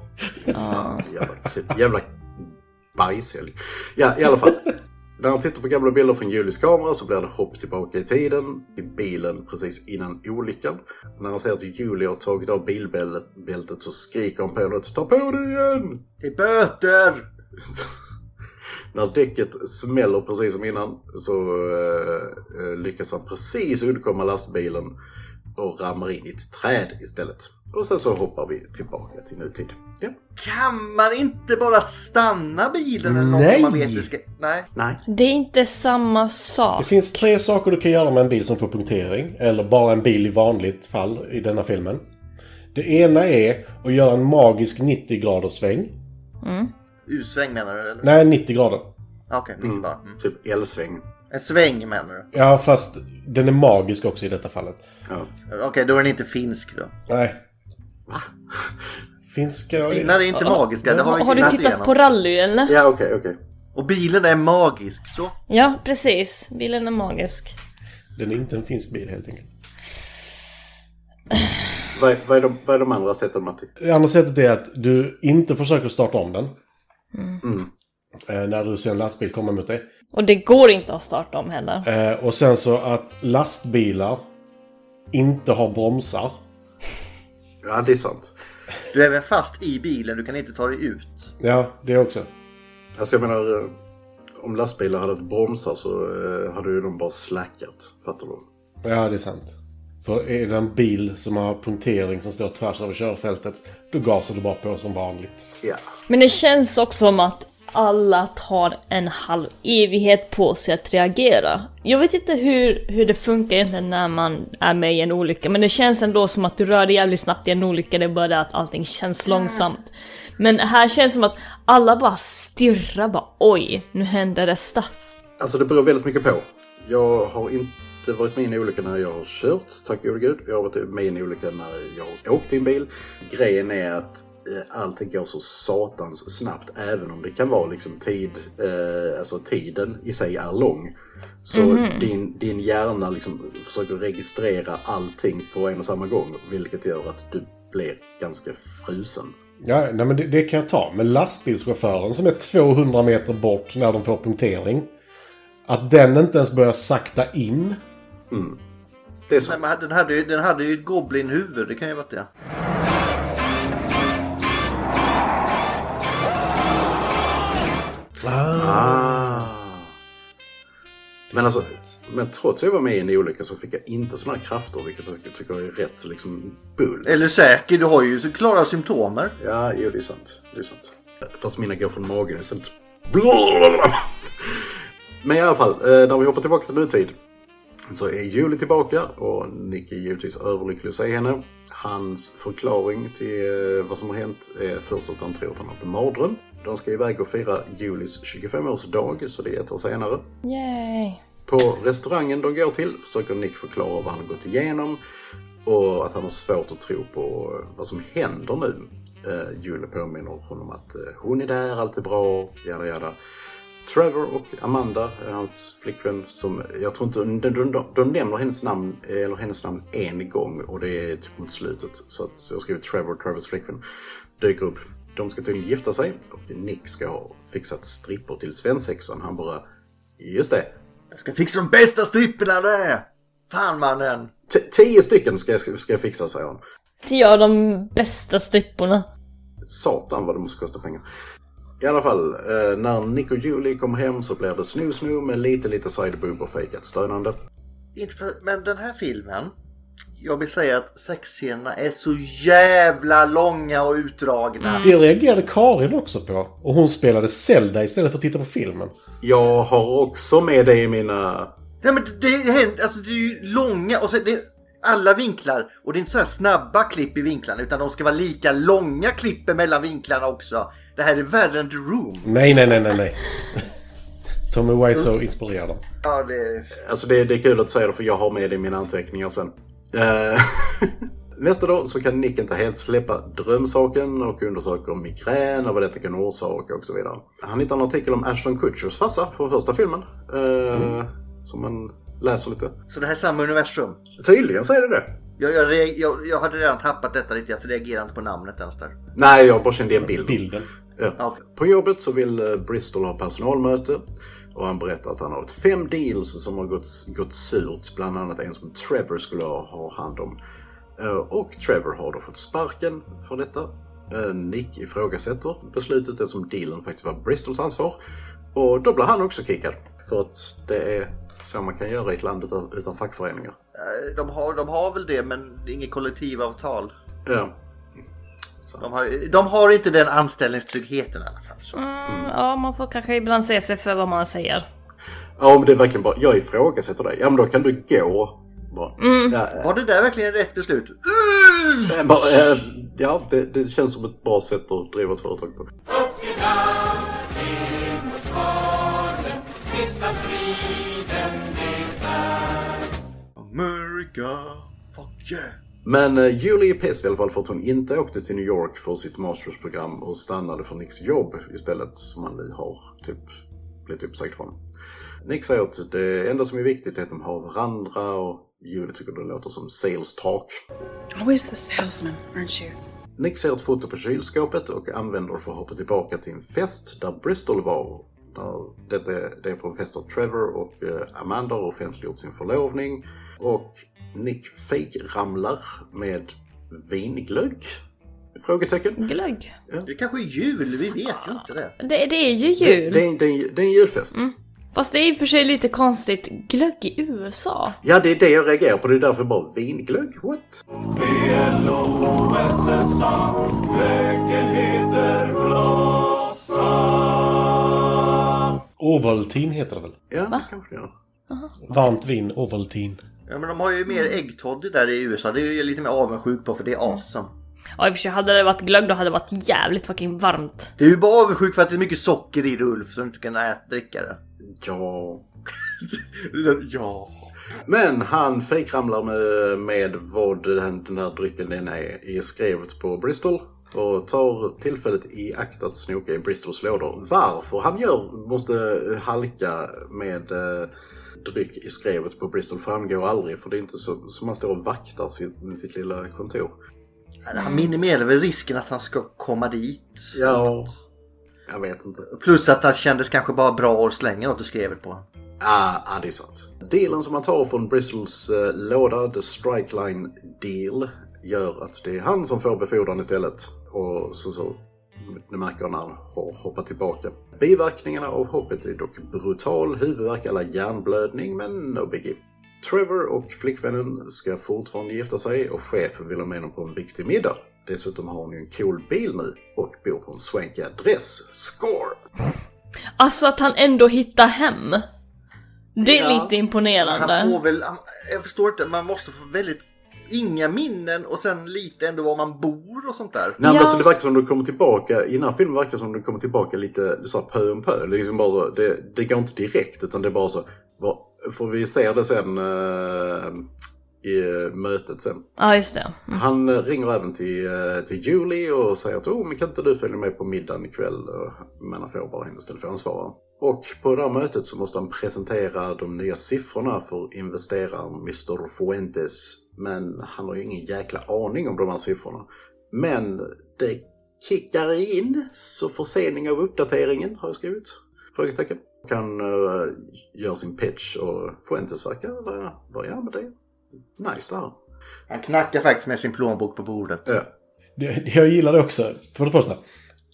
[SPEAKER 5] fan, jävla, kul. jävla bajshelg. Ja, i alla fall. När han tittar på gamla bilder från Julies kamera så blir det hopp tillbaka i tiden, i bilen precis innan olyckan. När han ser att Julie har tagit av bilbältet så skriker han på henne att ta på dig igen!
[SPEAKER 4] Det är böter!
[SPEAKER 5] När däcket smäller precis som innan så eh, eh, lyckas han precis undkomma lastbilen och rammar in i ett träd istället. Och sen så hoppar vi tillbaka till nutid. Ja.
[SPEAKER 4] Kan man inte bara stanna bilen eller något
[SPEAKER 6] Nej.
[SPEAKER 4] om man vet det ska... Nej.
[SPEAKER 5] Nej.
[SPEAKER 1] Det är inte samma
[SPEAKER 6] Det
[SPEAKER 1] sak.
[SPEAKER 6] finns tre saker du kan göra med en bil som får punktering, eller bara en bil i vanligt fall i denna filmen. Det ena är att göra en magisk 90 graders sväng.
[SPEAKER 4] U-sväng menar du? Eller?
[SPEAKER 6] Nej, 90 grader.
[SPEAKER 4] Ah, Okej, inte bara. Mm.
[SPEAKER 5] Typ elsväng.
[SPEAKER 4] En sväng menar du?
[SPEAKER 6] Ja, fast den är magisk också i detta fallet.
[SPEAKER 5] Ja.
[SPEAKER 4] Okej, då är den inte finsk då.
[SPEAKER 6] Nej. Finska...
[SPEAKER 4] Finnar är inte magiska, det har vi
[SPEAKER 1] Har du
[SPEAKER 4] gnat
[SPEAKER 1] tittat
[SPEAKER 4] igenom.
[SPEAKER 1] på rally eller?
[SPEAKER 5] Ja, okej, okej.
[SPEAKER 4] Och bilen är magisk så.
[SPEAKER 1] Ja, precis. Bilen är magisk.
[SPEAKER 6] Den är inte en finsk bil helt enkelt.
[SPEAKER 5] Vad, är- vad, är de, vad är de andra sätten, Matti?
[SPEAKER 6] Det andra sättet är att du inte försöker starta om den. Eh, när du ser en lastbil komma mot dig.
[SPEAKER 1] Och det går inte att starta om heller.
[SPEAKER 6] Eh, och sen så att lastbilar inte har bromsar.
[SPEAKER 5] Ja, det är sant.
[SPEAKER 4] Du är även fast i bilen, du kan inte ta dig ut.
[SPEAKER 6] Ja, det också.
[SPEAKER 5] Alltså jag menar, eh, om lastbilar hade haft bromsar så eh, hade ju de bara slackat. Fattar du?
[SPEAKER 6] Ja, det är sant. För är det en bil som har punktering som står tvärs över körfältet, då gasar du bara på som vanligt.
[SPEAKER 5] Ja.
[SPEAKER 1] Men det känns också som att alla tar en halv evighet på sig att reagera. Jag vet inte hur, hur det funkar egentligen när man är med i en olycka, men det känns ändå som att du rör dig jävligt snabbt i en olycka, det är bara det att allting känns långsamt. Men här känns det som att alla bara stirrar bara oj, nu händer det stuff.
[SPEAKER 5] Alltså det beror väldigt mycket på. Jag har inte varit med i en olycka när jag har kört, tack gode gud. Jag har varit med i en olycka när jag har åkt i en bil. Grejen är att eh, allting går så satans snabbt. Även om det kan vara liksom tid, eh, alltså tiden i sig är lång. Så din, din hjärna liksom försöker registrera allting på en och samma gång. Vilket gör att du blir ganska frusen.
[SPEAKER 6] Ja, nej, men det, det kan jag ta. Men lastbilschauffören som är 200 meter bort när de får punktering. Att den inte ens börjar sakta in.
[SPEAKER 5] Det är så.
[SPEAKER 4] Nej, men den, hade ju, den hade ju ett goblinhuvud, det kan ju ha varit det.
[SPEAKER 5] Ah. Men alltså, men trots att jag var med i en olycka så fick jag inte såna här krafter, vilket jag tycker är rätt liksom bull.
[SPEAKER 4] Eller säker, du har ju så klara symptomer.
[SPEAKER 5] Ja, jo, det är sant. Det är sant. Fast mina går från magen istället. Men i alla fall, eh, när vi hoppar tillbaka till nutid så är Julie tillbaka och Nick är givetvis överlycklig att se henne. Hans förklaring till eh, vad som har hänt är först att han tror att han har haft en mardröm. De ska iväg och fira Julies 25-årsdag, så det är ett år senare.
[SPEAKER 1] Yay.
[SPEAKER 5] På restaurangen de går till försöker Nick förklara vad han har gått igenom och att han har svårt att tro på eh, vad som händer nu. Eh, Julie påminner honom att eh, hon är där, allt är bra, jada jada. Trevor och Amanda, eh, hans flickvän, som jag tror inte, de, de, de, de nämner hennes namn, eh, eller hennes namn en gång och det är typ mot slutet. Så att jag skriver Trevor, Trevors flickvän, dyker upp. De ska tydligen gifta sig och Nick ska ha fixat strippor till svensexan. Han bara, just det,
[SPEAKER 4] Jag ska fixa de bästa stripporna där! Fan mannen!
[SPEAKER 5] T- tio stycken ska jag, ska jag fixa, säger han.
[SPEAKER 1] Tio av de bästa stripporna.
[SPEAKER 5] Satan vad det måste kosta pengar. I alla fall, eh, när Nick och Julie kommer hem så blir det snu-snu med lite, lite sideboob och fejkat stönande.
[SPEAKER 4] Inte för, men den här filmen. Jag vill säga att sexscenerna är så jävla långa och utdragna.
[SPEAKER 6] Det reagerade Karin också på. Och hon spelade Zelda istället för att titta på filmen.
[SPEAKER 5] Jag har också med det i mina...
[SPEAKER 4] Nej men det- det händer, alltså det är ju långa och sen det är alla vinklar. Och det är inte så här snabba klipp i vinklarna utan de ska vara lika långa klipp mellan vinklarna också. Det här är värre än The Room.
[SPEAKER 6] Nej, nej, nej, nej, nej. [laughs] Tommy Wiseau inspirerar dem.
[SPEAKER 4] Ja, det...
[SPEAKER 5] Alltså det, det är kul att du säger det för jag har med det i mina anteckningar sen. Eh, [laughs] Nästa dag så kan Nick inte helt släppa drömsaken och undersöker migrän och vad detta kan orsaka och så vidare. Han hittar en artikel om Ashton Kutchers farsa från första filmen. eh, Som man läser lite.
[SPEAKER 4] Så det här är samma universum.
[SPEAKER 5] Tydligen så är det det.
[SPEAKER 4] Jag, jag, reag- jag, jag hade redan tappat detta lite, jag reagerade inte på namnet ens där.
[SPEAKER 5] Nej, jag bara kände igen bilden.
[SPEAKER 6] Bilden.
[SPEAKER 5] Ja.
[SPEAKER 4] Ja, okej.
[SPEAKER 5] På jobbet så vill eh, Bristol ha personalmöte och han berättar att han har ett fem deals som har gått, gått surt, bland annat en som Trevor skulle ha, ha hand om. Eh, Och Trevor har då fått sparken för detta. Eh, Nick ifrågasätter beslutet eftersom dealen faktiskt var Bristols ansvar. Och då blir han också kickad. För att det är så man kan göra i ett land utan, utan fackföreningar.
[SPEAKER 4] Eh, De har, de har väl det, men det är inget kollektivavtal.
[SPEAKER 5] Ja.
[SPEAKER 4] De har, de har inte den anställningstryggheten i alla fall. Så.
[SPEAKER 1] Mm, ja, man får kanske ibland se sig för vad man säger.
[SPEAKER 5] Ja, men det är verkligen bara, jag ifrågasätter dig. Ja, men då kan du gå. Bara, ja, eh,
[SPEAKER 4] Var det där verkligen rätt beslut?
[SPEAKER 5] Eh, bara, eh, Ja, det, det känns som ett bra sätt att driva ett företag på.
[SPEAKER 4] America, fuck yeah.
[SPEAKER 5] Men eh, Julie är piss i alla fall för att hon inte åkte till New York för sitt mastersprogram och stannade för Nicks jobb istället som han nu har typ blivit uppsagd från. Nick säger att det enda som är viktigt är att de har varandra och Julie tycker det låter som sales talk.
[SPEAKER 10] Always the salesman, aren't you?
[SPEAKER 5] Nick ser ett foto på kylskåpet och använder det för att hoppa tillbaka till en fest där Bristol var. Där, detta, det är på en fest där Trevor och eh, Amanda har offentliggjort sin förlovning. Och Nick fake-ramlar med vinglögg? Frågetecken.
[SPEAKER 1] Glögg.
[SPEAKER 4] Det kanske är jul, vi vet ju inte det.
[SPEAKER 1] Det, det är ju
[SPEAKER 5] Det,
[SPEAKER 1] jul.
[SPEAKER 5] det, är- det, är- det är en julfest.
[SPEAKER 1] Fast det är i och för sig lite konstigt. Glögg i USA?
[SPEAKER 5] Ja, det är det jag reagerar på. Det är därför bara vinglögg. What?
[SPEAKER 6] Ovaltin heter det väl?
[SPEAKER 5] Ja, kanske det är.
[SPEAKER 6] Varmt vin, Ovaltin.
[SPEAKER 4] Ja, men de har ju mer äggtoddy där i USA, det är jag lite mer avundsjuk på för det är awesome.
[SPEAKER 1] Ja, i och för sig hade det varit glögg då hade det varit jävligt fucking varmt.
[SPEAKER 4] Du är ju bara avundsjuk för att det är mycket socker i det Ulf, så du inte kan äta, dricka det.
[SPEAKER 5] Ja.
[SPEAKER 4] Ja.
[SPEAKER 5] Men han fejkramlar med, med vad den, den här drycken den är, är skrevet på Bristol och tar tillfället i akt att snoka i Bristols lådor. Varför han gör, måste halka med eh, dryck i skrevet på Bristol framgår aldrig för det är inte så, så man står och vaktar sitt, sitt lilla kontor.
[SPEAKER 4] Han minimerar väl risken att han ska komma dit.
[SPEAKER 5] Ja, jag vet inte.
[SPEAKER 4] Plus att han kändes kanske bara bra att slänga något du skrev på honom.
[SPEAKER 5] Ah, ah, det är sant. Dealen som han tar från Bristles eh, låda, The Strikeline Deal, gör att det är han som får befordran istället. Och så, så det märker han när han har hoppat tillbaka. Biverkningarna av hoppet är dock brutal huvudvärk eller hjärnblödning, men no biggie. Trevor och flickvännen ska fortfarande gifta sig och chefen vill ha med dem på en viktig middag. Dessutom har hon ju en cool bil nu och bor på en swankig adress. Score!
[SPEAKER 1] Alltså att han ändå hittar hem. Det är
[SPEAKER 5] Ja.
[SPEAKER 1] lite
[SPEAKER 4] Han
[SPEAKER 1] imponerande.
[SPEAKER 4] får väl, han, jag förstår inte, man måste få väldigt inga minnen och sen lite ändå var man bor och sånt där.
[SPEAKER 5] Nej,
[SPEAKER 1] Ja.
[SPEAKER 5] men alltså det verkar som de kommer tillbaka, i den här filmen verkar det som de kommer tillbaka lite så här pö om pö. Liksom bara så, det, det går inte direkt utan det är bara så, vad, får vi se det sen eh, i eh, mötet sen.
[SPEAKER 1] Ja, just det.
[SPEAKER 5] Han eh, ringer även till, eh, till Julie och säger att oh, men kan inte du följa med på middagen ikväll? Eh, Men han får bara hennes telefonsvarare. Och på det här mötet så måste han presentera de nya siffrorna för investeraren Mr Fuentes. Men han har ju ingen jäkla aning om de här siffrorna. Men det kickar in, så försening av uppdateringen har jag skrivit. Frågetecken. Och Han eh, gör sin pitch och Fuentes verkar vara, vara, ja men det är nice det här.
[SPEAKER 4] Han knackar faktiskt med sin plånbok på bordet.
[SPEAKER 5] Ja.
[SPEAKER 6] Det- det Jag gillar det också. För det första.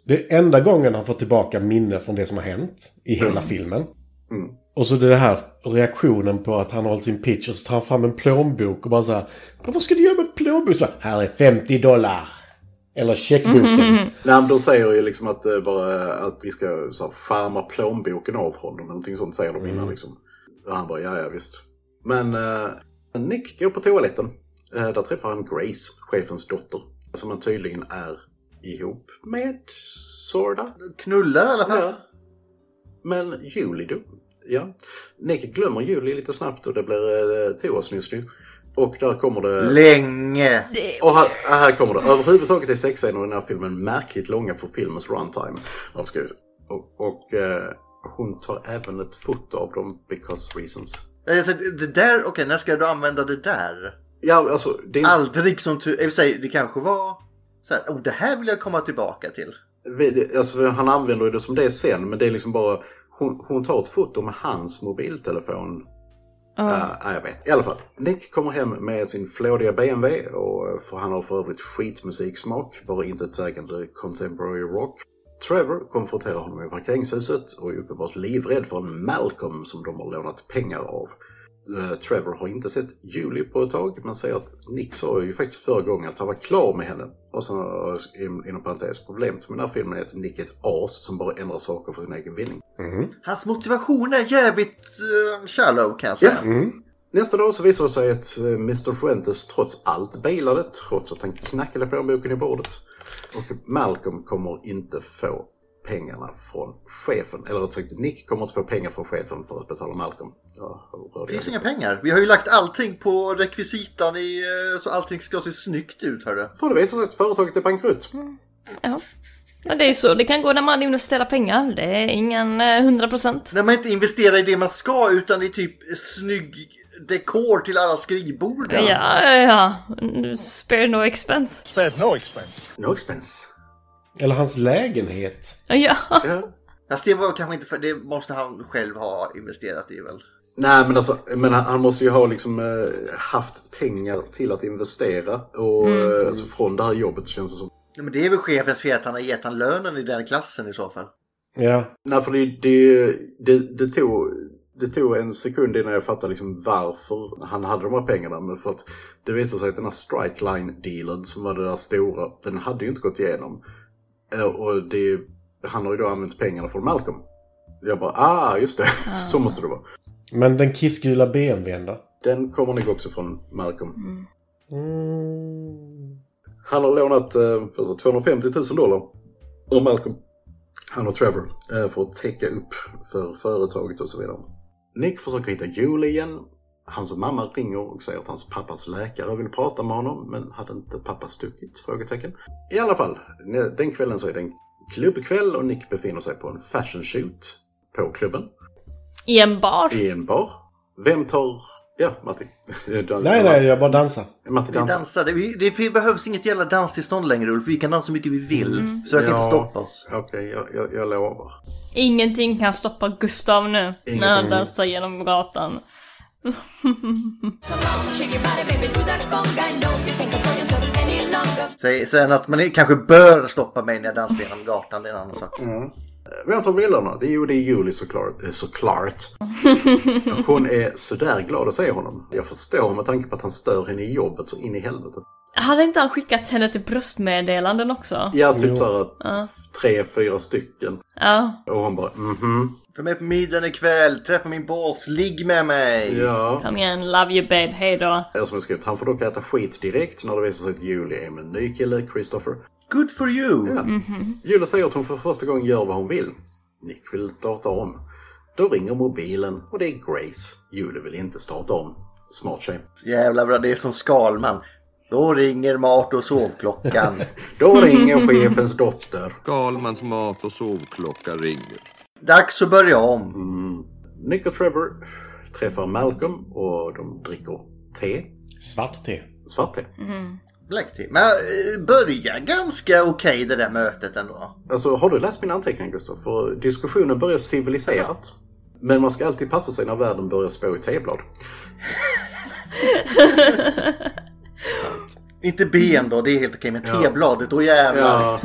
[SPEAKER 6] Det är enda gången han får tillbaka minne från det som har hänt i hela filmen.
[SPEAKER 5] Mm.
[SPEAKER 6] Och så det här reaktionen på att han har hållit sin pitch och så tar han fram en plånbok och bara så här. "Men Vad ska du göra med plånbok? Så bara, här är 50 dollar. Eller checkboken.
[SPEAKER 5] Nej, men de säger ju liksom att, eh, bara, att vi ska så här, skärma plånboken av honom. eller Någonting sånt säger de innan. Liksom. Och han bara, ja, ja visst. Men eh, Nick går på toaletten. Eh, där träffar han Grace, chefens dotter. Som han tydligen är ihop med, Sorda.
[SPEAKER 4] Knullar i alla fall.
[SPEAKER 5] Ja. Men Julie då? Ja. Nick glömmer Julie lite snabbt och det blir eh, toasnuss nu. Och där kommer det...
[SPEAKER 4] Länge.
[SPEAKER 5] Och här, här kommer det. Överhuvudtaget är sexscener i den här filmen märkligt långa på filmens runtime. har jag skrivit. Och, och eh, hon tar även ett foto av dem because reasons.
[SPEAKER 4] Eh, Jag tänkte, Det där, okej när ska du använda det där?
[SPEAKER 5] Ja, alltså, det är,
[SPEAKER 4] Aldrig som tur... i och för sig, Det kanske var så här, oh, det här vill jag komma tillbaka till.
[SPEAKER 5] vi- det- alltså, han använder ju det som det sen, men det är liksom bara... Hon, hon tar ett foto med hans mobiltelefon. Ja, jag vet. I alla fall, Nick kommer hem med sin flådiga BMW, och, för han har för övrigt skitmusiksmak, bara inte ett sägande contemporary rock. Trevor konfronterar honom i parkeringshuset och är uppenbart livrädd för en Malcolm som de har lånat pengar av. Eh, Trevor har inte sett Julie på ett tag, men säger att Nick sa ju faktiskt förra gången att han var klar med henne. Och sen, eh, in- inom parentes, problemet med den här filmen är att Nick är ett as som bara ändrar saker för sin egen vinning.
[SPEAKER 4] Hans motivation är jävligt eh, shallow kan jag säga.
[SPEAKER 5] Nästa dag så visar det sig att eh, Mr Fuentes trots allt bailade, trots att han knackade plånboken i bordet. Och Malcolm kommer inte få pengarna från chefen. Eller rätt sagt, Nick kommer inte få pengar från chefen för att betala Malcolm. Ja, hur rörde
[SPEAKER 4] Det
[SPEAKER 5] jag
[SPEAKER 4] finns
[SPEAKER 5] det?
[SPEAKER 4] inga pengar. Vi har ju lagt allting på rekvisitan i, eh, så allting ska se snyggt ut hörru.
[SPEAKER 5] För det visar sig att företaget är bankrutt.
[SPEAKER 4] Mm.
[SPEAKER 1] Ja. Men det är ju så det kan gå när man investerar pengar. Det är ingen eh, 100%.
[SPEAKER 4] När man inte investerar i det man ska utan i typ snygg dekor till alla skrivbord.
[SPEAKER 1] Ja, ja, ja. Spare no expense.
[SPEAKER 3] Spared no expense.
[SPEAKER 5] No
[SPEAKER 4] [laughs]
[SPEAKER 5] expense.
[SPEAKER 6] Eller hans lägenhet.
[SPEAKER 1] Ja.
[SPEAKER 5] Ja.
[SPEAKER 4] Fast det var kanske inte för, det måste han själv ha investerat i väl?
[SPEAKER 5] Nej, men alltså, men han, han måste ju ha liksom, eh, haft pengar till att investera. Och eh, alltså, från det här jobbet så känns det som...
[SPEAKER 4] Ja, men det är väl chefens fel att han har gett han lönen i den klassen i så fall.
[SPEAKER 6] Ja.
[SPEAKER 5] Nej, för det, det, det, det, tog, det tog en sekund innan jag fattade liksom varför han hade de här pengarna. Men för att det visade sig att den här strikeline-dealen som var det där stora, den hade ju inte gått igenom. Eh, Och det, han har ju då använt pengarna från Malcolm. Jag bara, ah, just det. [laughs] Så måste det vara.
[SPEAKER 6] Men den kissgula BMWn då?
[SPEAKER 5] Den kommer nog också från Malcolm.
[SPEAKER 6] Mm.
[SPEAKER 5] Han har lånat eh, för så 250 000 dollar av Malcolm, han och Trevor, eh, för att täcka upp för företaget och så vidare. Nick försöker hitta Julie igen. Hans mamma ringer och säger att hans pappas läkare vill prata med honom, men hade inte pappa stuckit? Frågetecken. I alla fall, ne- den kvällen så är det en klubbkväll och Nick befinner sig på en fashion shoot på klubben
[SPEAKER 1] I en bar.
[SPEAKER 5] i en bar. Vem tar... Ja, [laughs] Matti.
[SPEAKER 6] Nej, nej, jag bara dansar.
[SPEAKER 5] Matti
[SPEAKER 4] Vi
[SPEAKER 5] dansar.
[SPEAKER 4] dansar. Det, det, det behövs inget jävla danstillstånd längre Ulf. Vi kan dansa så mycket vi vill. Försök inte
[SPEAKER 5] Ja.
[SPEAKER 4] stoppa oss.
[SPEAKER 5] Okej, jag, jag, jag lovar.
[SPEAKER 1] Ingenting kan stoppa Gustav nu. När han dansar genom gatan.
[SPEAKER 4] Säg, sen att man kanske bör stoppa mig när jag dansar genom gatan, det är en annan sak.
[SPEAKER 5] Mm. Vem tar bilderna? Det är ju det är Julie såklart. eh, såklart. Hon är sådär glad att se honom. Jag förstår med tanke på att han stör henne i jobbet så in i helvete.
[SPEAKER 1] Hade inte han skickat henne till bröstmeddelanden också?
[SPEAKER 5] Ja, typ såhär tre, fyra stycken.
[SPEAKER 1] Ja.
[SPEAKER 5] Och hon bara mhm.
[SPEAKER 4] För mig på middagen ikväll, träffa min boss, ligg med mig!
[SPEAKER 5] Ja.
[SPEAKER 1] Kom igen, love you babe, hejdå.
[SPEAKER 5] Jag som har skrivit, han får dock äta skit direkt när det visar sig att Julie är med en ny kille, Christopher.
[SPEAKER 4] Good for you!
[SPEAKER 5] Ja. Julia säger att hon för första gången gör vad hon vill. Nick vill starta om. Då ringer mobilen och det är Grace. Julie vill inte starta om. Smart tjej.
[SPEAKER 4] Jävlar vad det är som Skalman. Då ringer mat och sovklockan.
[SPEAKER 5] Då ringer chefens dotter.
[SPEAKER 7] Galmans mat och sovklocka ringer.
[SPEAKER 4] Dags att börja om.
[SPEAKER 5] Nick och Trevor träffar Malcolm och de dricker te.
[SPEAKER 6] Svart te.
[SPEAKER 5] Svart te.
[SPEAKER 4] Black tea. Men eh, börjar ganska okej det där mötet ändå.
[SPEAKER 5] Alltså, har du läst mina anteckningar Gustav? För diskussionen börjar civiliserat. Men man ska alltid passa sig när världen börjar spå i teblad.
[SPEAKER 4] Inte ben då, det är helt okej. men tebladet, då jävlar.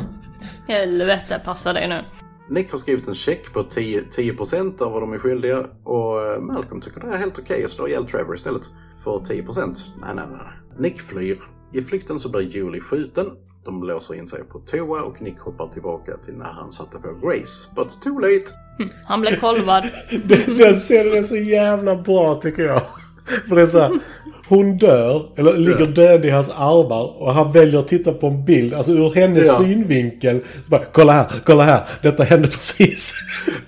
[SPEAKER 1] Helvete, passa dig nu.
[SPEAKER 5] Nick har skrivit en check på 10, 10% av vad de är skyldiga och eh, Malcolm tycker det är helt okej att slå ihjäl Trevor istället. För 10%? Nej, nej, nej. Nick flyr. I flykten så blir Julie skjuten. De låser in sig på toa och Nick hoppar tillbaka till när han satte på Grace. But too late!
[SPEAKER 1] Han blev
[SPEAKER 5] [laughs]
[SPEAKER 1] kolvad.
[SPEAKER 6] Den, den scenen är så jävla bra tycker jag. För det är så här, hon dör, eller ligger död i hans armar och han väljer att titta på en bild, alltså ur hennes
[SPEAKER 5] Ja.
[SPEAKER 6] synvinkel. Så bara, kolla här, kolla här, detta hände precis.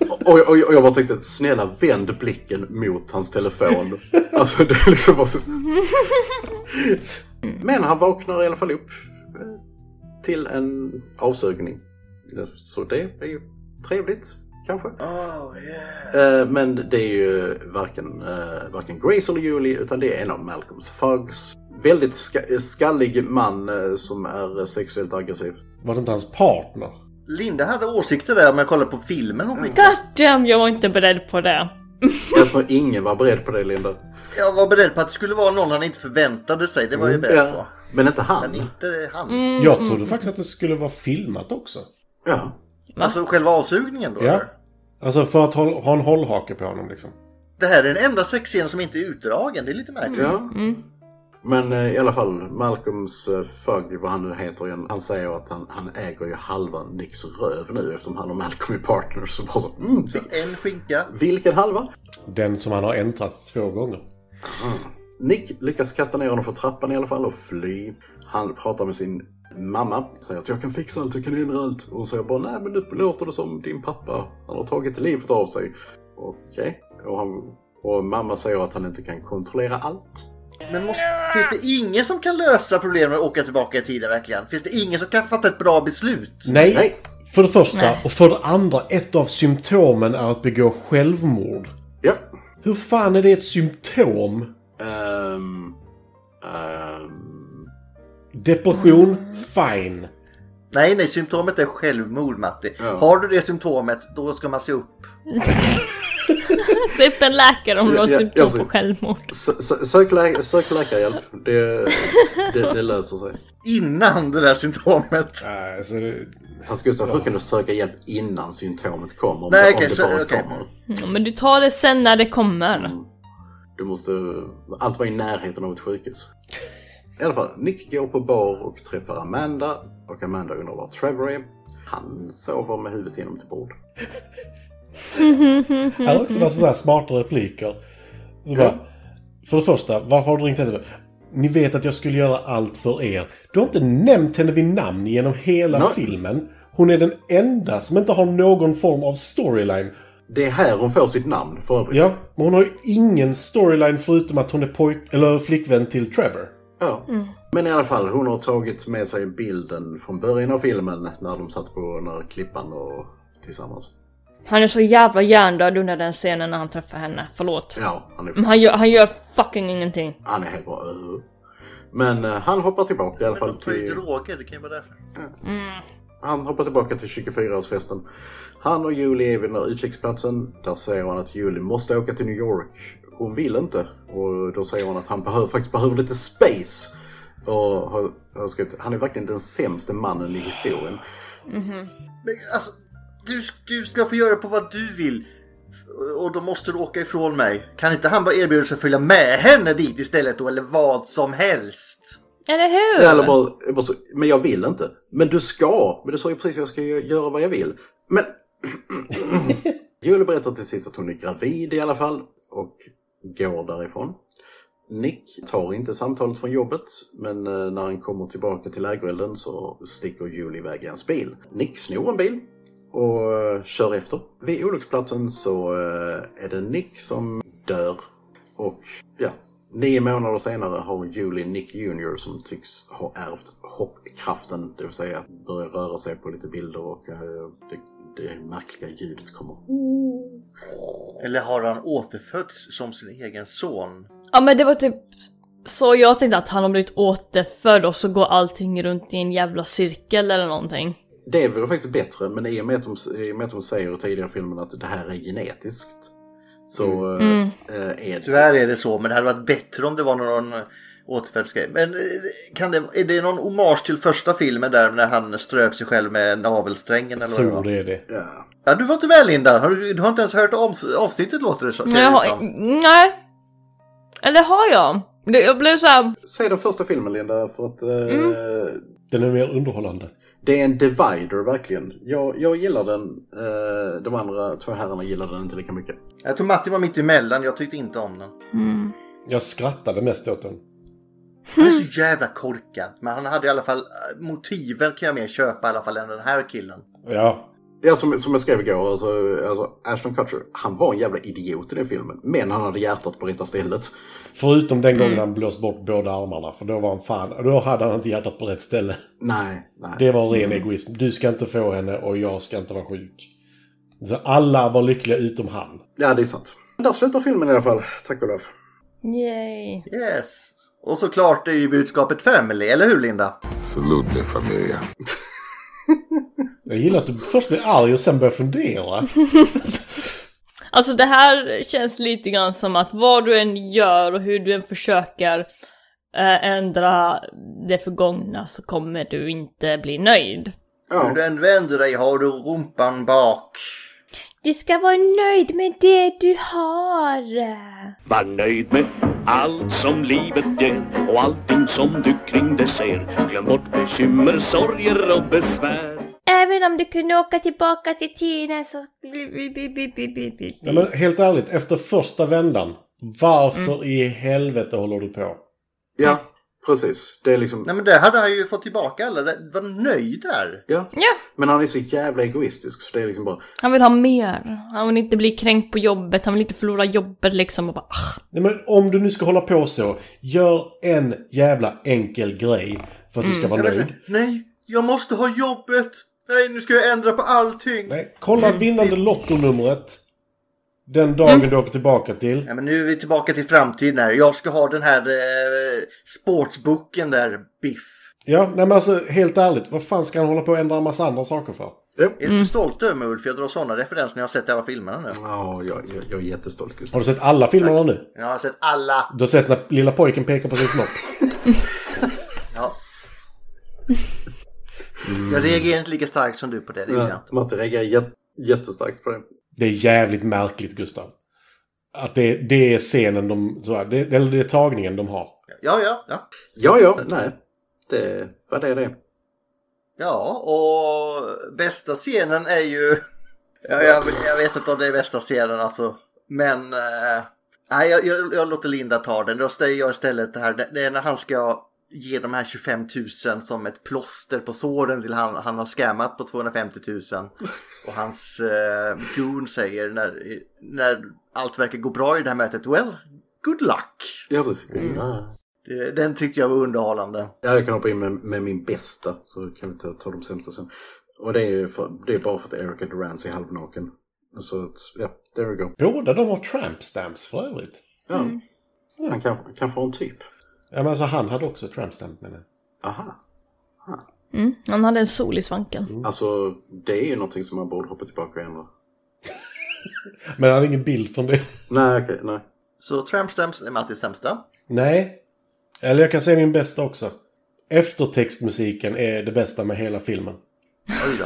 [SPEAKER 5] Och, och, och jag bara tänkte, snälla vänd blicken mot hans
[SPEAKER 4] [laughs]
[SPEAKER 5] telefon. Alltså det är liksom bara så... Men han vaknar i alla fall upp eh, till en avsugning. Så det är ju trevligt, kanske.
[SPEAKER 4] Oh, yeah.
[SPEAKER 5] Eh, Men det är ju varken, eh, varken Grace eller Julie, utan det är en av Malcolms thugs. väldigt ska- skallig man eh, som är sexuellt aggressiv.
[SPEAKER 6] Var det inte hans partner?
[SPEAKER 4] Linda hade åsikter där om jag kollar på filmen hon fick.
[SPEAKER 1] God damn, jag var inte beredd på det.
[SPEAKER 5] Jag tror ingen var beredd på det Linda.
[SPEAKER 4] Jag var beredd på att det skulle vara någon han inte förväntade sig. Det var jag beredd på.
[SPEAKER 5] Men inte
[SPEAKER 4] Men
[SPEAKER 5] han.
[SPEAKER 4] inte han.
[SPEAKER 6] Jag trodde faktiskt att det skulle vara filmat också.
[SPEAKER 5] Ja.
[SPEAKER 4] Alltså själva avsugningen då?
[SPEAKER 6] Ja.
[SPEAKER 4] eller?
[SPEAKER 6] Alltså för att ha, ha en hållhake på honom liksom.
[SPEAKER 4] Det här är den enda sexscenen som inte är utdragen. Det är lite märkligt.
[SPEAKER 5] Ja. Men eh, i alla fall, Malcolms eh, Fugg, vad han nu heter igen, han säger att han, han äger ju halva Nicks röv nu eftersom han och Malcolm är partners. Så bara så, mm,
[SPEAKER 4] En skinka.
[SPEAKER 5] vilken halva?
[SPEAKER 6] Den som han har äntrat två gånger.
[SPEAKER 5] Nick lyckas kasta ner honom för trappan i alla fall och fly. Han pratar med sin mamma, säger att jag kan fixa allt, jag kan ändra allt. Och hon säger bara nej men nu låter det som din pappa, han har tagit livet av sig. Okej. Och, han- och mamma säger att han inte kan kontrollera allt.
[SPEAKER 4] Men måste, finns det ingen som kan lösa problemet med att åka tillbaka i tiden verkligen? Finns det ingen som kan fatta ett bra beslut?
[SPEAKER 6] Nej!
[SPEAKER 5] Nej.
[SPEAKER 6] För det första.
[SPEAKER 1] Nej.
[SPEAKER 6] Och för det andra, ett av symptomen är att begå självmord.
[SPEAKER 5] Ja.
[SPEAKER 6] Hur fan är det ett symptom?
[SPEAKER 5] Ehm... ehm,
[SPEAKER 6] Depression? Fine.
[SPEAKER 4] Nej, nej, symptomet är självmord Matti.
[SPEAKER 5] Ja.
[SPEAKER 4] Har du det symptomet, då ska man se upp.
[SPEAKER 1] Se upp en läkare om du har
[SPEAKER 5] Ja, ja,
[SPEAKER 1] symptom
[SPEAKER 5] jag
[SPEAKER 1] på
[SPEAKER 5] ser.
[SPEAKER 1] självmord.
[SPEAKER 5] sö- sö- Sök, lä- sök läkarhjälp. Det, det, det löser sig.
[SPEAKER 4] Innan det där symptomet.
[SPEAKER 6] Nej, Alltså, det-
[SPEAKER 5] Fast Gustav, hur kan du söka hjälp innan symptomet kommer? Om
[SPEAKER 4] Nej,
[SPEAKER 5] det- om
[SPEAKER 4] okej,
[SPEAKER 5] det
[SPEAKER 4] så-
[SPEAKER 5] bara
[SPEAKER 4] okej.
[SPEAKER 5] kommer. Mm.
[SPEAKER 1] Ja, men du tar det sen när det kommer.
[SPEAKER 5] Du måste... Allt var i närheten av ett sjukhus. I alla fall, Nick går på bar och träffar Amanda. Och Amanda undrar var Trevor är. Han sover med huvudet genom till bord.
[SPEAKER 6] Här har också varit sådana här smarta repliker. Så bara, För det första, varför har du ringt henne? Ni vet att jag skulle göra allt för er. Du har inte nämnt henne vid namn genom hela
[SPEAKER 5] Nej.
[SPEAKER 6] filmen. Hon är den enda som inte har någon form av storyline.
[SPEAKER 5] Det är här hon får sitt namn för övrigt.
[SPEAKER 6] Ja, men hon har ju ingen storyline förutom att hon är pojk eller flickvän till Trevor.
[SPEAKER 5] Ja. Men i alla fall, hon har tagit med sig bilden från början av filmen när de satt på den här klippan och tillsammans.
[SPEAKER 1] Han är så jävla hjärndöd under den scenen när han träffar henne. Förlåt.
[SPEAKER 5] Ja, han är,
[SPEAKER 1] Men han gör, han gör fucking ingenting.
[SPEAKER 5] han är helt bra. Uh. Men eh, han hoppar tillbaka i alla
[SPEAKER 4] Men
[SPEAKER 5] fall
[SPEAKER 4] de tar ju
[SPEAKER 5] till...
[SPEAKER 4] droger, det kan ju vara därför.
[SPEAKER 5] Han hoppar tillbaka till 24-årsfesten. Han och Julie är vid den här utkiksplatsen. Där säger han att Julie måste åka till New York. Hon vill inte. Och då säger hon att han behöver, faktiskt behöver lite space. Och har, har skrivit, han är verkligen den sämste mannen i historien.
[SPEAKER 4] Men alltså, du, du ska få göra på vad du vill. F- Och då måste du åka ifrån mig. Kan inte han bara erbjuda sig att följa med henne dit istället då, eller vad som helst?
[SPEAKER 1] Eller hur?
[SPEAKER 5] Eller bara, bara så, men jag vill inte. Men du ska! Men du sa ju precis att jag ska gö- göra vad jag vill. Men... [clears throat] Julie berättar till sist att hon är gravid i alla fall och går därifrån. Nick tar inte samtalet från jobbet men eh, när han kommer tillbaka till lägerelden så sticker Julie iväg i hans bil. Nick snor en bil och eh, kör efter. Vid olycksplatsen så eh, är det Nick som dör och ja, nio månader senare har Julie Nick Jr som tycks ha ärvt hoppkraften, det vill säga att börja röra sig på lite bilder och eh, det, det märkliga ljudet kommer.
[SPEAKER 4] Eller har han återfötts som sin egen son?
[SPEAKER 1] Ja men det var typ så jag tänkte att han har blivit återfödd och så går allting runt i en jävla cirkel eller någonting.
[SPEAKER 5] Det vore faktiskt bättre, men i och med att de, i och med att de säger i tidigare filmen att det här är genetiskt så eh, eh, är det...
[SPEAKER 4] Tyvärr är det så, men det hade varit bättre om det var någon eh, återfödselsgrej. Men eh, kan det, är det någon hommage till första filmen där när han ströp sig själv med navelsträngen eller vad det
[SPEAKER 6] Tror
[SPEAKER 4] var?
[SPEAKER 6] det är det.
[SPEAKER 5] Ja.
[SPEAKER 4] Ja, du var inte med Linda. Har du, du har inte ens hört om, avsnittet låter det så. ser
[SPEAKER 1] Nej, jag
[SPEAKER 4] det ut
[SPEAKER 1] har,
[SPEAKER 4] som. Liksom.
[SPEAKER 1] nej. Eller har jag? Det- Jag blev såhär,
[SPEAKER 5] Se den första filmen Linda, för att eh,
[SPEAKER 6] Den är mer underhållande.
[SPEAKER 5] det är en divider verkligen. Jag, jag gillar den, eh, de andra två herrarna gillar den inte lika mycket.
[SPEAKER 4] Jag tror Matti var mitt emellan, jag tyckte inte om den.
[SPEAKER 6] Jag skrattade mest åt den.
[SPEAKER 4] Han är
[SPEAKER 1] Hmm.
[SPEAKER 4] så jävla korkad. Men han hade i alla fall eh, motiven kan jag mer köpa i alla fall än den här killen.
[SPEAKER 6] Ja.
[SPEAKER 5] Ja, som, som jag skrev igår, alltså, alltså Ashton Kutcher, han var en jävla idiot i den filmen. Men han hade hjärtat på rätta stället.
[SPEAKER 6] Förutom den gången han blåst bort båda armarna. För då var han fan... Då hade han inte hjärtat på rätt ställe.
[SPEAKER 5] Nej, nej.
[SPEAKER 6] Det var ren egoism. Du ska inte få henne och jag ska inte vara sjuk. Så alla var lyckliga utom han.
[SPEAKER 5] Ja, det är sant. Där slutar filmen i alla fall, tack och lov.
[SPEAKER 1] yay.
[SPEAKER 4] Yes. Och såklart är ju budskapet family, eller hur Linda?
[SPEAKER 9] Salute min familj.
[SPEAKER 6] Jag gillar att du först blir arg och sen börjar fundera.
[SPEAKER 1] Alltså det här känns lite grann som att vad du än gör och hur du än försöker eh, ändra det förgångna så kommer du inte bli nöjd.
[SPEAKER 4] Hur du än vänder dig har du rumpan bak.
[SPEAKER 1] Du ska vara nöjd med det du har.
[SPEAKER 11] Var nöjd med allt som livet ger och allting som du kring dig ser. Glöm bort bekymmer, sorger och besvär.
[SPEAKER 1] Även om du kunde åka tillbaka till tiden så...
[SPEAKER 6] Nej, men helt ärligt, efter första vändan. Varför i helvete håller du på?
[SPEAKER 5] Ja, precis. Det är liksom...
[SPEAKER 4] Nej men det hade han ju fått tillbaka alla. Det- Var nöjd där.
[SPEAKER 5] Ja.
[SPEAKER 1] Ja,
[SPEAKER 5] Men han är så jävla egoistisk så det är liksom bara...
[SPEAKER 1] han vill ha mer. Han vill inte bli kränkt på jobbet, han vill inte förlora jobbet liksom och bara... "Ah."
[SPEAKER 6] Nej, men om du nu ska hålla på så, gör en jävla enkel grej för att du ska vara nöjd.
[SPEAKER 4] Nej, jag måste ha jobbet. Nej, nu ska jag ändra på allting. Nej,
[SPEAKER 6] Nej, kolla vinnande lottonumret. Den dagen du åker tillbaka till.
[SPEAKER 4] men nu är vi tillbaka till framtiden här. Jag ska ha den här eh, sportsboken där, Biff.
[SPEAKER 6] Ja, nej men alltså helt ärligt, vad fan ska han hålla på och ändra en massa andra saker för?
[SPEAKER 4] Är du stolt över mig Ulf? Jag drar sådana referenser när jag har sett alla filmerna nu.
[SPEAKER 5] Ja, jag, jag, jag är jättestolt Gustav.
[SPEAKER 6] Har du sett alla filmerna nu?
[SPEAKER 4] Jag har sett alla.
[SPEAKER 6] Du har sett när lilla pojken pekar på sin snopp?
[SPEAKER 4] Ja. Jag reagerar inte lika starkt som du på det. det gjorde jag inte.
[SPEAKER 5] Matte reagerar jät- jättestarkt på det.
[SPEAKER 6] Det är jävligt märkligt, Gustav. Att det, det är scenen de... Så här, det, eller det är tagningen de har.
[SPEAKER 4] Ja, ja, ja.
[SPEAKER 5] Ja, ja, nej. Det var det det.
[SPEAKER 4] Ja, och bästa scenen är ju... [laughs] Ja, jag, jag vet inte om det är bästa scenen alltså. Men... eh, nej, jag, jag, jag låter Linda ta den. Då säger jag istället det här. Det, det är när han ska ge de här 25 000 som ett plåster på såren till han, han har scammat på 250 000. Och hans eh, goon säger när, när allt verkar gå bra i det här mötet. Well, good luck.
[SPEAKER 5] Ja, precis. Ja.
[SPEAKER 4] Det, den tyckte jag var underhållande.
[SPEAKER 5] Ja, jag kan hoppa in med, med min bästa så kan vi ta, ta de sämsta sen. Och det är, ju för, det är bara för att Erica Durance är halvnaken. Så att, ja, there we go.
[SPEAKER 6] Båda de har tramp stamps för övrigt.
[SPEAKER 5] Ja.
[SPEAKER 1] Mm.
[SPEAKER 5] Han kanske kan har en typ.
[SPEAKER 6] Ja, men alltså han hade också tramp stamp med det.
[SPEAKER 5] Aha.
[SPEAKER 1] Mm, han hade en sol i svanken.
[SPEAKER 5] Alltså, det är ju någonting som man borde hoppa tillbaka och ändra.
[SPEAKER 6] Men han hade ingen bild från det.
[SPEAKER 5] Nej, okej, nej.
[SPEAKER 4] Så Tramp Stamps är Mattis sämsta.
[SPEAKER 6] Nej. Eller jag kan säga min bästa också. Eftertextmusiken är det bästa med hela filmen.
[SPEAKER 4] Oj då.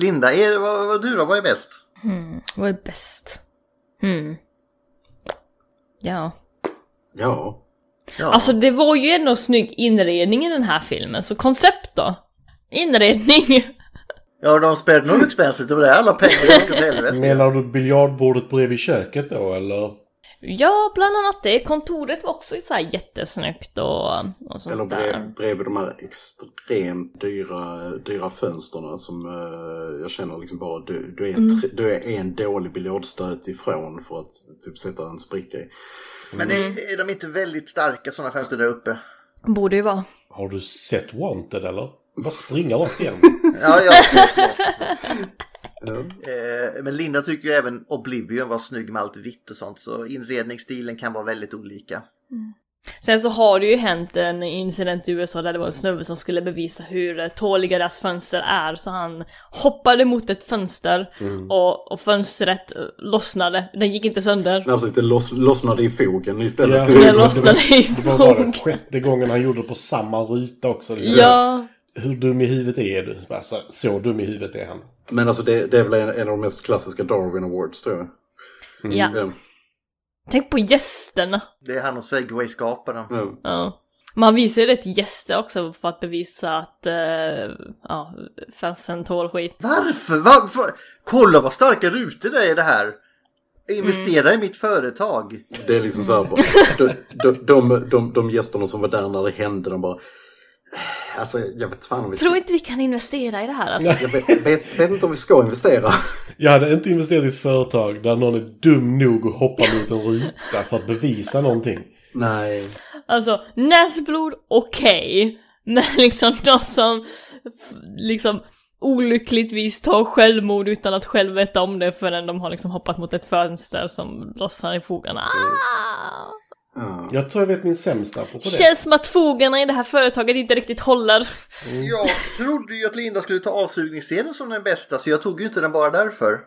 [SPEAKER 4] Linda, är, vad, vad du då? Vad är bäst?
[SPEAKER 1] Vad är bäst? Hmm. Ja.
[SPEAKER 5] Ja.
[SPEAKER 4] Ja.
[SPEAKER 1] Alltså det var ju ändå snygg inredning i den här filmen, så koncept då? Inredning! [laughs]
[SPEAKER 4] ja, de spared no expenses. Det var det alla pengar jag åt åt helvete.
[SPEAKER 6] Menar du biljardbordet bredvid köket då, eller?
[SPEAKER 1] Ja, bland annat det. Kontoret var också så här jättesnyggt och, och sånt
[SPEAKER 5] Eller
[SPEAKER 1] där.
[SPEAKER 5] brev, bredvid de här extremt dyra, dyra fönsterna som eh, jag känner liksom bara du, du, är,
[SPEAKER 1] Mm.
[SPEAKER 5] tre, du är en dålig biljardstöt ifrån för att typ sätta en spricka i.
[SPEAKER 4] Men det, är de inte väldigt starka sådana fönster där uppe?
[SPEAKER 1] Borde ju vara.
[SPEAKER 6] Har du sett Wanted, eller? Bara springa rakt [laughs] igen.
[SPEAKER 4] Ja, ja.
[SPEAKER 5] Ja.
[SPEAKER 4] Eh, Men Linda tycker ju även Oblivion var snygg med allt vitt och sånt. Så inredningsstilen kan vara väldigt olika.
[SPEAKER 1] Sen så har det ju hänt en incident i USA där det var en snubbe som skulle bevisa hur tåliga deras fönster är så han hoppade mot ett fönster och, och fönstret eh, lossnade. Den gick inte sönder.
[SPEAKER 5] Nej, precis, det loss, lossnade i fogen istället.
[SPEAKER 6] Ja.
[SPEAKER 5] Det är
[SPEAKER 1] Den
[SPEAKER 5] liksom-
[SPEAKER 1] lossnade i
[SPEAKER 6] Det var bara den
[SPEAKER 1] fog.
[SPEAKER 6] sjätte gången han gjorde det på samma ruta också.
[SPEAKER 1] Ja.
[SPEAKER 6] Hur dum i huvudet är du? Alltså, så dum i huvudet är han.
[SPEAKER 5] Men alltså det, det är väl en, en av de mest klassiska Darwin Awards tror jag.
[SPEAKER 1] ja.
[SPEAKER 5] Ja.
[SPEAKER 1] Tänk på gästerna.
[SPEAKER 4] Det är han och Segway-skaparen.
[SPEAKER 5] Ja.
[SPEAKER 1] Ja. Man visar ju det till gäster också för att bevisa att eh, ja, fansen tål skit.
[SPEAKER 4] Varför? Varför? Kolla vad starka rutor det är i det här! Investera i mitt företag!
[SPEAKER 5] Det är liksom så här bara,
[SPEAKER 1] [laughs]
[SPEAKER 5] de, de, de, de, de gästerna som var där när det hände, de bara... Alltså jag vet fan om vi
[SPEAKER 1] Tror inte vi kan investera i det här alltså.
[SPEAKER 5] Jag vet, vet, vet inte om vi ska investera.
[SPEAKER 6] Jag hade inte investerat i ett företag där någon är dum nog att hoppa mot en ruta för att bevisa någonting.
[SPEAKER 5] Nej.
[SPEAKER 1] Alltså, näsblod, okej. Men liksom de som f- liksom olyckligtvis tar självmord utan att själv
[SPEAKER 4] Mm,
[SPEAKER 1] veta om det förrän de har liksom hoppat mot ett fönster som lossnar i fogarna. Ah!
[SPEAKER 6] Jag tror jag vet min sämsta på det.
[SPEAKER 1] Känns som att fogarna i det här företaget inte riktigt håller. Mm.
[SPEAKER 4] Jag trodde ju att Linda skulle ta avsugningsscenen som den bästa så jag tog ju inte den bara därför.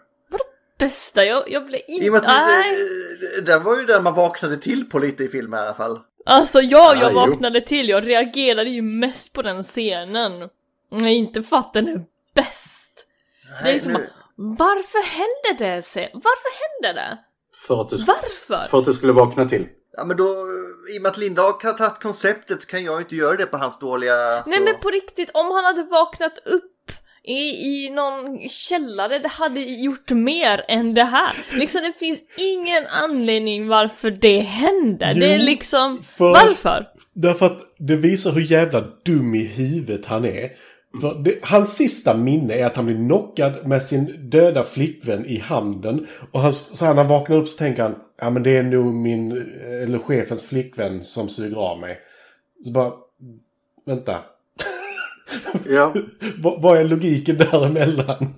[SPEAKER 1] Bästa, jag, jag blev
[SPEAKER 4] I och
[SPEAKER 1] inte...
[SPEAKER 4] med att eh,
[SPEAKER 1] Mm, Nej.
[SPEAKER 4] den var ju den man vaknade till på lite i filmen i alla fall.
[SPEAKER 1] Alltså jag,
[SPEAKER 4] Ah,
[SPEAKER 1] jag
[SPEAKER 4] jo.
[SPEAKER 1] vaknade till, jag reagerade ju mest på den scenen. Men inte för att den är bäst. det är
[SPEAKER 5] Nej,
[SPEAKER 1] liksom,
[SPEAKER 5] nu-
[SPEAKER 1] bara, varför hände det? se- Varför hände det?
[SPEAKER 5] För att du, sk-
[SPEAKER 1] Varför?
[SPEAKER 5] för att du skulle vakna
[SPEAKER 1] [laughs]
[SPEAKER 5] till.
[SPEAKER 4] Ja men då, eh, i och med att Linda har tagit konceptet så kan jag ju inte göra det på hans dåliga...
[SPEAKER 1] Nej men på riktigt, om han hade vaknat upp i, i någon källare, det hade gjort mer än det här. Liksom det finns ingen anledning varför det händer. det är
[SPEAKER 6] Jo,
[SPEAKER 1] liksom,
[SPEAKER 6] för-
[SPEAKER 1] varför?
[SPEAKER 6] Därför att det visar hur jävla dum i huvudet han är. För det, hans sista minne är att han blir knockad med sin döda flickvän i handen. Och han, så här, när han vaknar upp så tänker han ja men det är nog min, eller chefens flickvän som suger av mig. Så bara, vänta.
[SPEAKER 5] Ja.
[SPEAKER 6] vad, vad är logiken däremellan?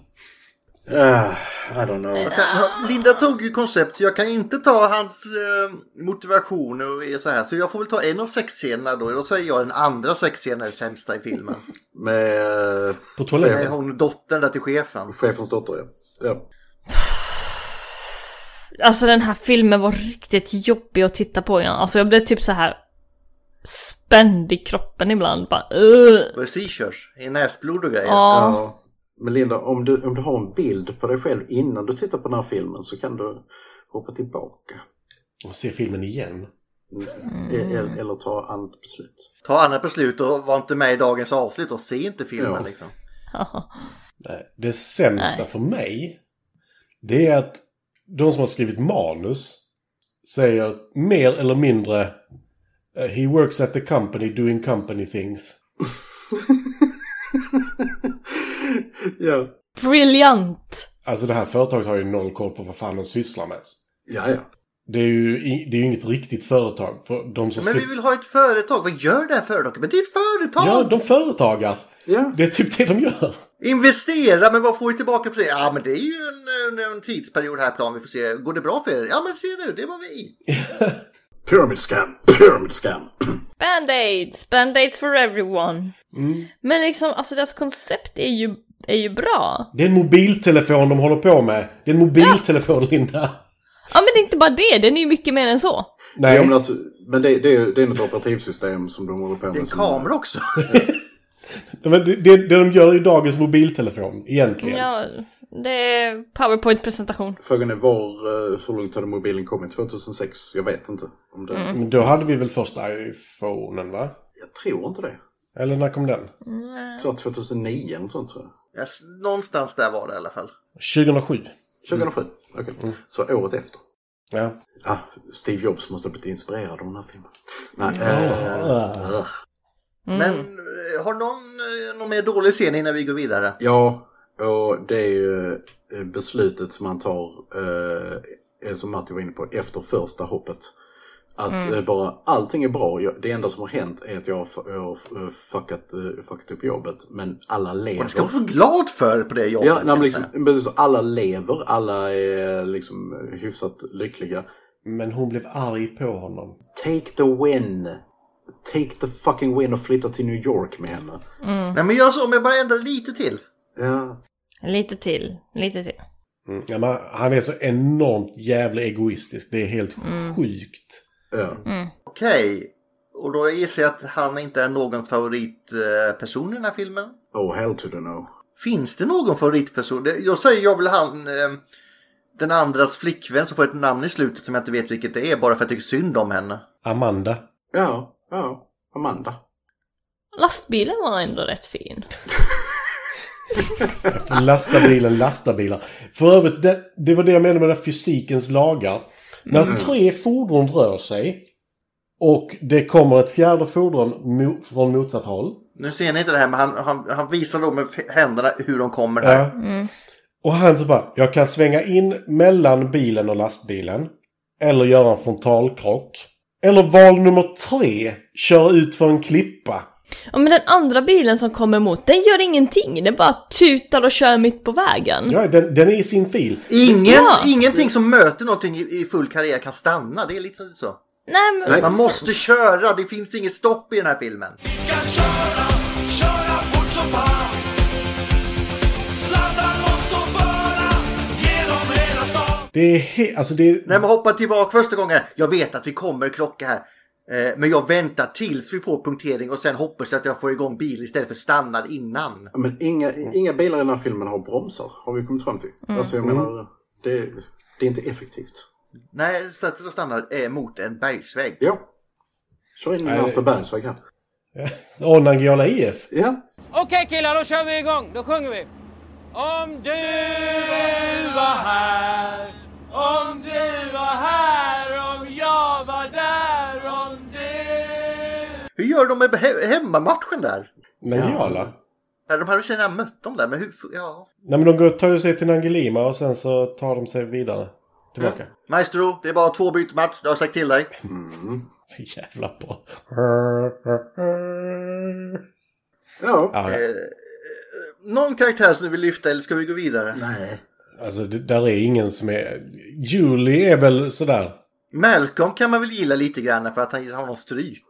[SPEAKER 5] Ah, I don't know.
[SPEAKER 4] Och Sen,
[SPEAKER 1] Ah.
[SPEAKER 4] Linda tog ju koncept, så jag kan inte ta hans eh, motivation och så här. Så jag får väl ta en av sexscenerna då. Då säger jag den andra sexscenen är sämsta i filmen.
[SPEAKER 5] Med... eh,
[SPEAKER 6] På
[SPEAKER 4] Med
[SPEAKER 6] toaletten?
[SPEAKER 4] hon dottern där till chefen.
[SPEAKER 5] Chefens dotter, ja. ja.
[SPEAKER 1] Alltså den här filmen var riktigt jobbig att titta på igen. Alltså jag blev typ så här spänd i kroppen ibland. Bara, uh.
[SPEAKER 4] Var det seizures? I näsblod och grejer?
[SPEAKER 1] Ja.
[SPEAKER 5] Ja. Men Linda, om du, om du har en bild på dig själv innan du tittar på den här filmen så kan du hoppa tillbaka.
[SPEAKER 6] Och se filmen igen.
[SPEAKER 5] Eller, eller ta annat beslut.
[SPEAKER 4] Ta annat beslut och var inte med i dagens avslut och se inte filmen
[SPEAKER 5] Ja.
[SPEAKER 4] liksom.
[SPEAKER 6] Nej, det sämsta
[SPEAKER 1] Nej.
[SPEAKER 6] för mig, det är att de som har skrivit manus säger mer eller mindre eh, He works at the company doing company things.
[SPEAKER 5] Ja.
[SPEAKER 1] Briljant!
[SPEAKER 6] Alltså det här företaget har ju noll koll på vad fan de sysslar med.
[SPEAKER 5] Ja, ja.
[SPEAKER 6] Det är ju, i- det är ju inget riktigt företag. För de som
[SPEAKER 4] Men vi
[SPEAKER 6] skri-
[SPEAKER 4] vill ha ett företag. Vad gör det här företaget? Men det är ett företag!
[SPEAKER 6] Ja, de företagar!
[SPEAKER 5] Ja.
[SPEAKER 6] Det är typ det de gör.
[SPEAKER 4] Investera, men vad får vi tillbaka på det? Ja, men det är ju en, en, en tidsperiod här plan. Vi får se. Går det bra för er? Ja, men se nu, det var vi.
[SPEAKER 5] Pyramid scam! Pyramid scam!
[SPEAKER 1] Band-aids! Band-aids for everyone! Men liksom, alltså deras koncept är ju, är ju bra.
[SPEAKER 6] Det är en mobiltelefon de håller på med. Det är en mobiltelefon, Linda.
[SPEAKER 1] Ja men det är inte bara det, den är ju mycket mer än så.
[SPEAKER 6] Nej,
[SPEAKER 5] Ja, men alltså, men det, det, är, det är något operativsystem som de håller på med.
[SPEAKER 4] Det är en
[SPEAKER 5] som-
[SPEAKER 4] kamera också. [laughs]
[SPEAKER 6] men det, det, det de gör är ju dagens mobiltelefon, egentligen.
[SPEAKER 1] Ja, det är powerpoint-presentation.
[SPEAKER 5] Frågan är var, eh, hur långt hade mobilen kommit? 2006? Jag vet inte. Om det,
[SPEAKER 6] Men då hade vi väl första iPhonen, va?
[SPEAKER 5] Jag tror inte det.
[SPEAKER 6] Eller när kom den?
[SPEAKER 5] Jag tror att 2009 eller något sånt tror jag.
[SPEAKER 4] Ja, s- någonstans där var det i alla fall.
[SPEAKER 6] 2007.
[SPEAKER 5] 2007? Okej. Så året efter.
[SPEAKER 6] Ja.
[SPEAKER 5] Ah, Steve Jobs måste ha blivit inspirerad av den här filmen. Nej, eh,
[SPEAKER 6] Ah.
[SPEAKER 5] eh.
[SPEAKER 1] Mm.
[SPEAKER 4] Men eh, har någon, eh, någon mer dålig scen innan vi går vidare?
[SPEAKER 5] Ja, och det är ju eh, beslutet som man tar, eh, eh, som Matti var inne på, efter första hoppet. Att
[SPEAKER 4] Mm.
[SPEAKER 5] eh, bara allting är bra, jag, det enda som har hänt är att jag har, f- jag har f- eh, fuckat, eh, fuckat upp jobbet. Men alla lever.
[SPEAKER 4] Och det ska man vara glad för på det jobbet.
[SPEAKER 5] Ja, nej, men
[SPEAKER 4] kan
[SPEAKER 5] liksom,
[SPEAKER 4] jag säga.
[SPEAKER 5] men så alla lever, alla är liksom hyfsat lyckliga.
[SPEAKER 6] Men hon blev arg på honom.
[SPEAKER 5] Take the win! Take the fucking win och flytta till New York med henne.
[SPEAKER 4] Nej, men gör så, men bara ändra lite till.
[SPEAKER 5] Ja,
[SPEAKER 1] Lite till, lite till.
[SPEAKER 6] Mm. Ja, men han är så enormt jävla egoistisk. Det är helt sjukt.
[SPEAKER 5] ja.
[SPEAKER 4] Okej. Och då gissar jag att han inte är någon favoritperson i den här filmen.
[SPEAKER 5] Oh hell to the no.
[SPEAKER 4] Finns det någon favoritperson? Det- Jag säger jag vill han eh, den andras flickvän som får ett namn i slutet som jag inte vet vilket det är bara för att jag tycker synd om henne.
[SPEAKER 6] Amanda.
[SPEAKER 5] Ja, ja. Amanda.
[SPEAKER 1] Lastbilen var ändå rätt fin.
[SPEAKER 6] Lasta bilen, lasta bilar. För övrigt, det, det var det jag menade med den här fysikens lagar. När tre fordon rör sig och det kommer ett fjärde fordon mo- från motsatt håll.
[SPEAKER 4] Nu ser ni inte det här men han, han, han visar då med f- händerna hur de kommer här.
[SPEAKER 6] Ja. Och han så bara, jag kan svänga in mellan bilen och lastbilen. Eller göra en frontalkrock. Eller val nummer tre, köra ut för en klippa.
[SPEAKER 1] Ja men den andra bilen som kommer emot, den gör ingenting. Den bara tutar och kör mitt på vägen.
[SPEAKER 6] Ja, den, den är i sin fil.
[SPEAKER 4] Ingen,
[SPEAKER 1] Ja.
[SPEAKER 4] Ingenting som möter någonting i, i full karriär kan stanna. Det är lite så.
[SPEAKER 1] Nej,
[SPEAKER 5] Äh,
[SPEAKER 1] men...
[SPEAKER 4] Man måste köra, det finns inget stopp i den här filmen.
[SPEAKER 6] Det är helt... Alltså det är...
[SPEAKER 4] När man hoppar tillbaka första gången, jag vet att vi kommer klocka här. eh, Men jag väntar tills vi får punktering och sen hoppas jag att jag får igång bil istället för stannar innan.
[SPEAKER 5] Ja, Men inga, inga bilar i den här filmen har bromsar, har vi kommit fram till. Alltså jag menar, det, det är inte effektivt.
[SPEAKER 4] Nej, sätter och stannar eh, mot en bergsvägg.
[SPEAKER 5] Ja. Kör in i
[SPEAKER 6] Nej.
[SPEAKER 5] närmsta bergsväg här.
[SPEAKER 6] Åh, Nangijala IF.
[SPEAKER 5] Ja.
[SPEAKER 3] Okej killar, då kör vi igång. Då sjunger vi. Om du var här, om du var här, om jag var där, om du...
[SPEAKER 4] Hur gör de med he- hemmamatchen där?
[SPEAKER 6] Nangijala?
[SPEAKER 4] Ja, De hade väl redan mött dem där, men hur... Ja.
[SPEAKER 6] Nej, men de går, tar ju sig till Nangilima och sen så tar de sig vidare. Tillbaka.
[SPEAKER 4] Maestro, det är bara två byt match, jag har sagt till dig.
[SPEAKER 6] [laughs]
[SPEAKER 5] Mm.
[SPEAKER 6] Så jävla bra.
[SPEAKER 5] Ja.
[SPEAKER 6] Ja,
[SPEAKER 4] Eh, någon karaktär som du vill lyfta eller ska vi gå vidare?
[SPEAKER 5] Nej.
[SPEAKER 6] alltså, det, där är ingen som är... Julie är väl sådär.
[SPEAKER 4] Malcolm kan man väl gilla lite grann för att han har någon stryk.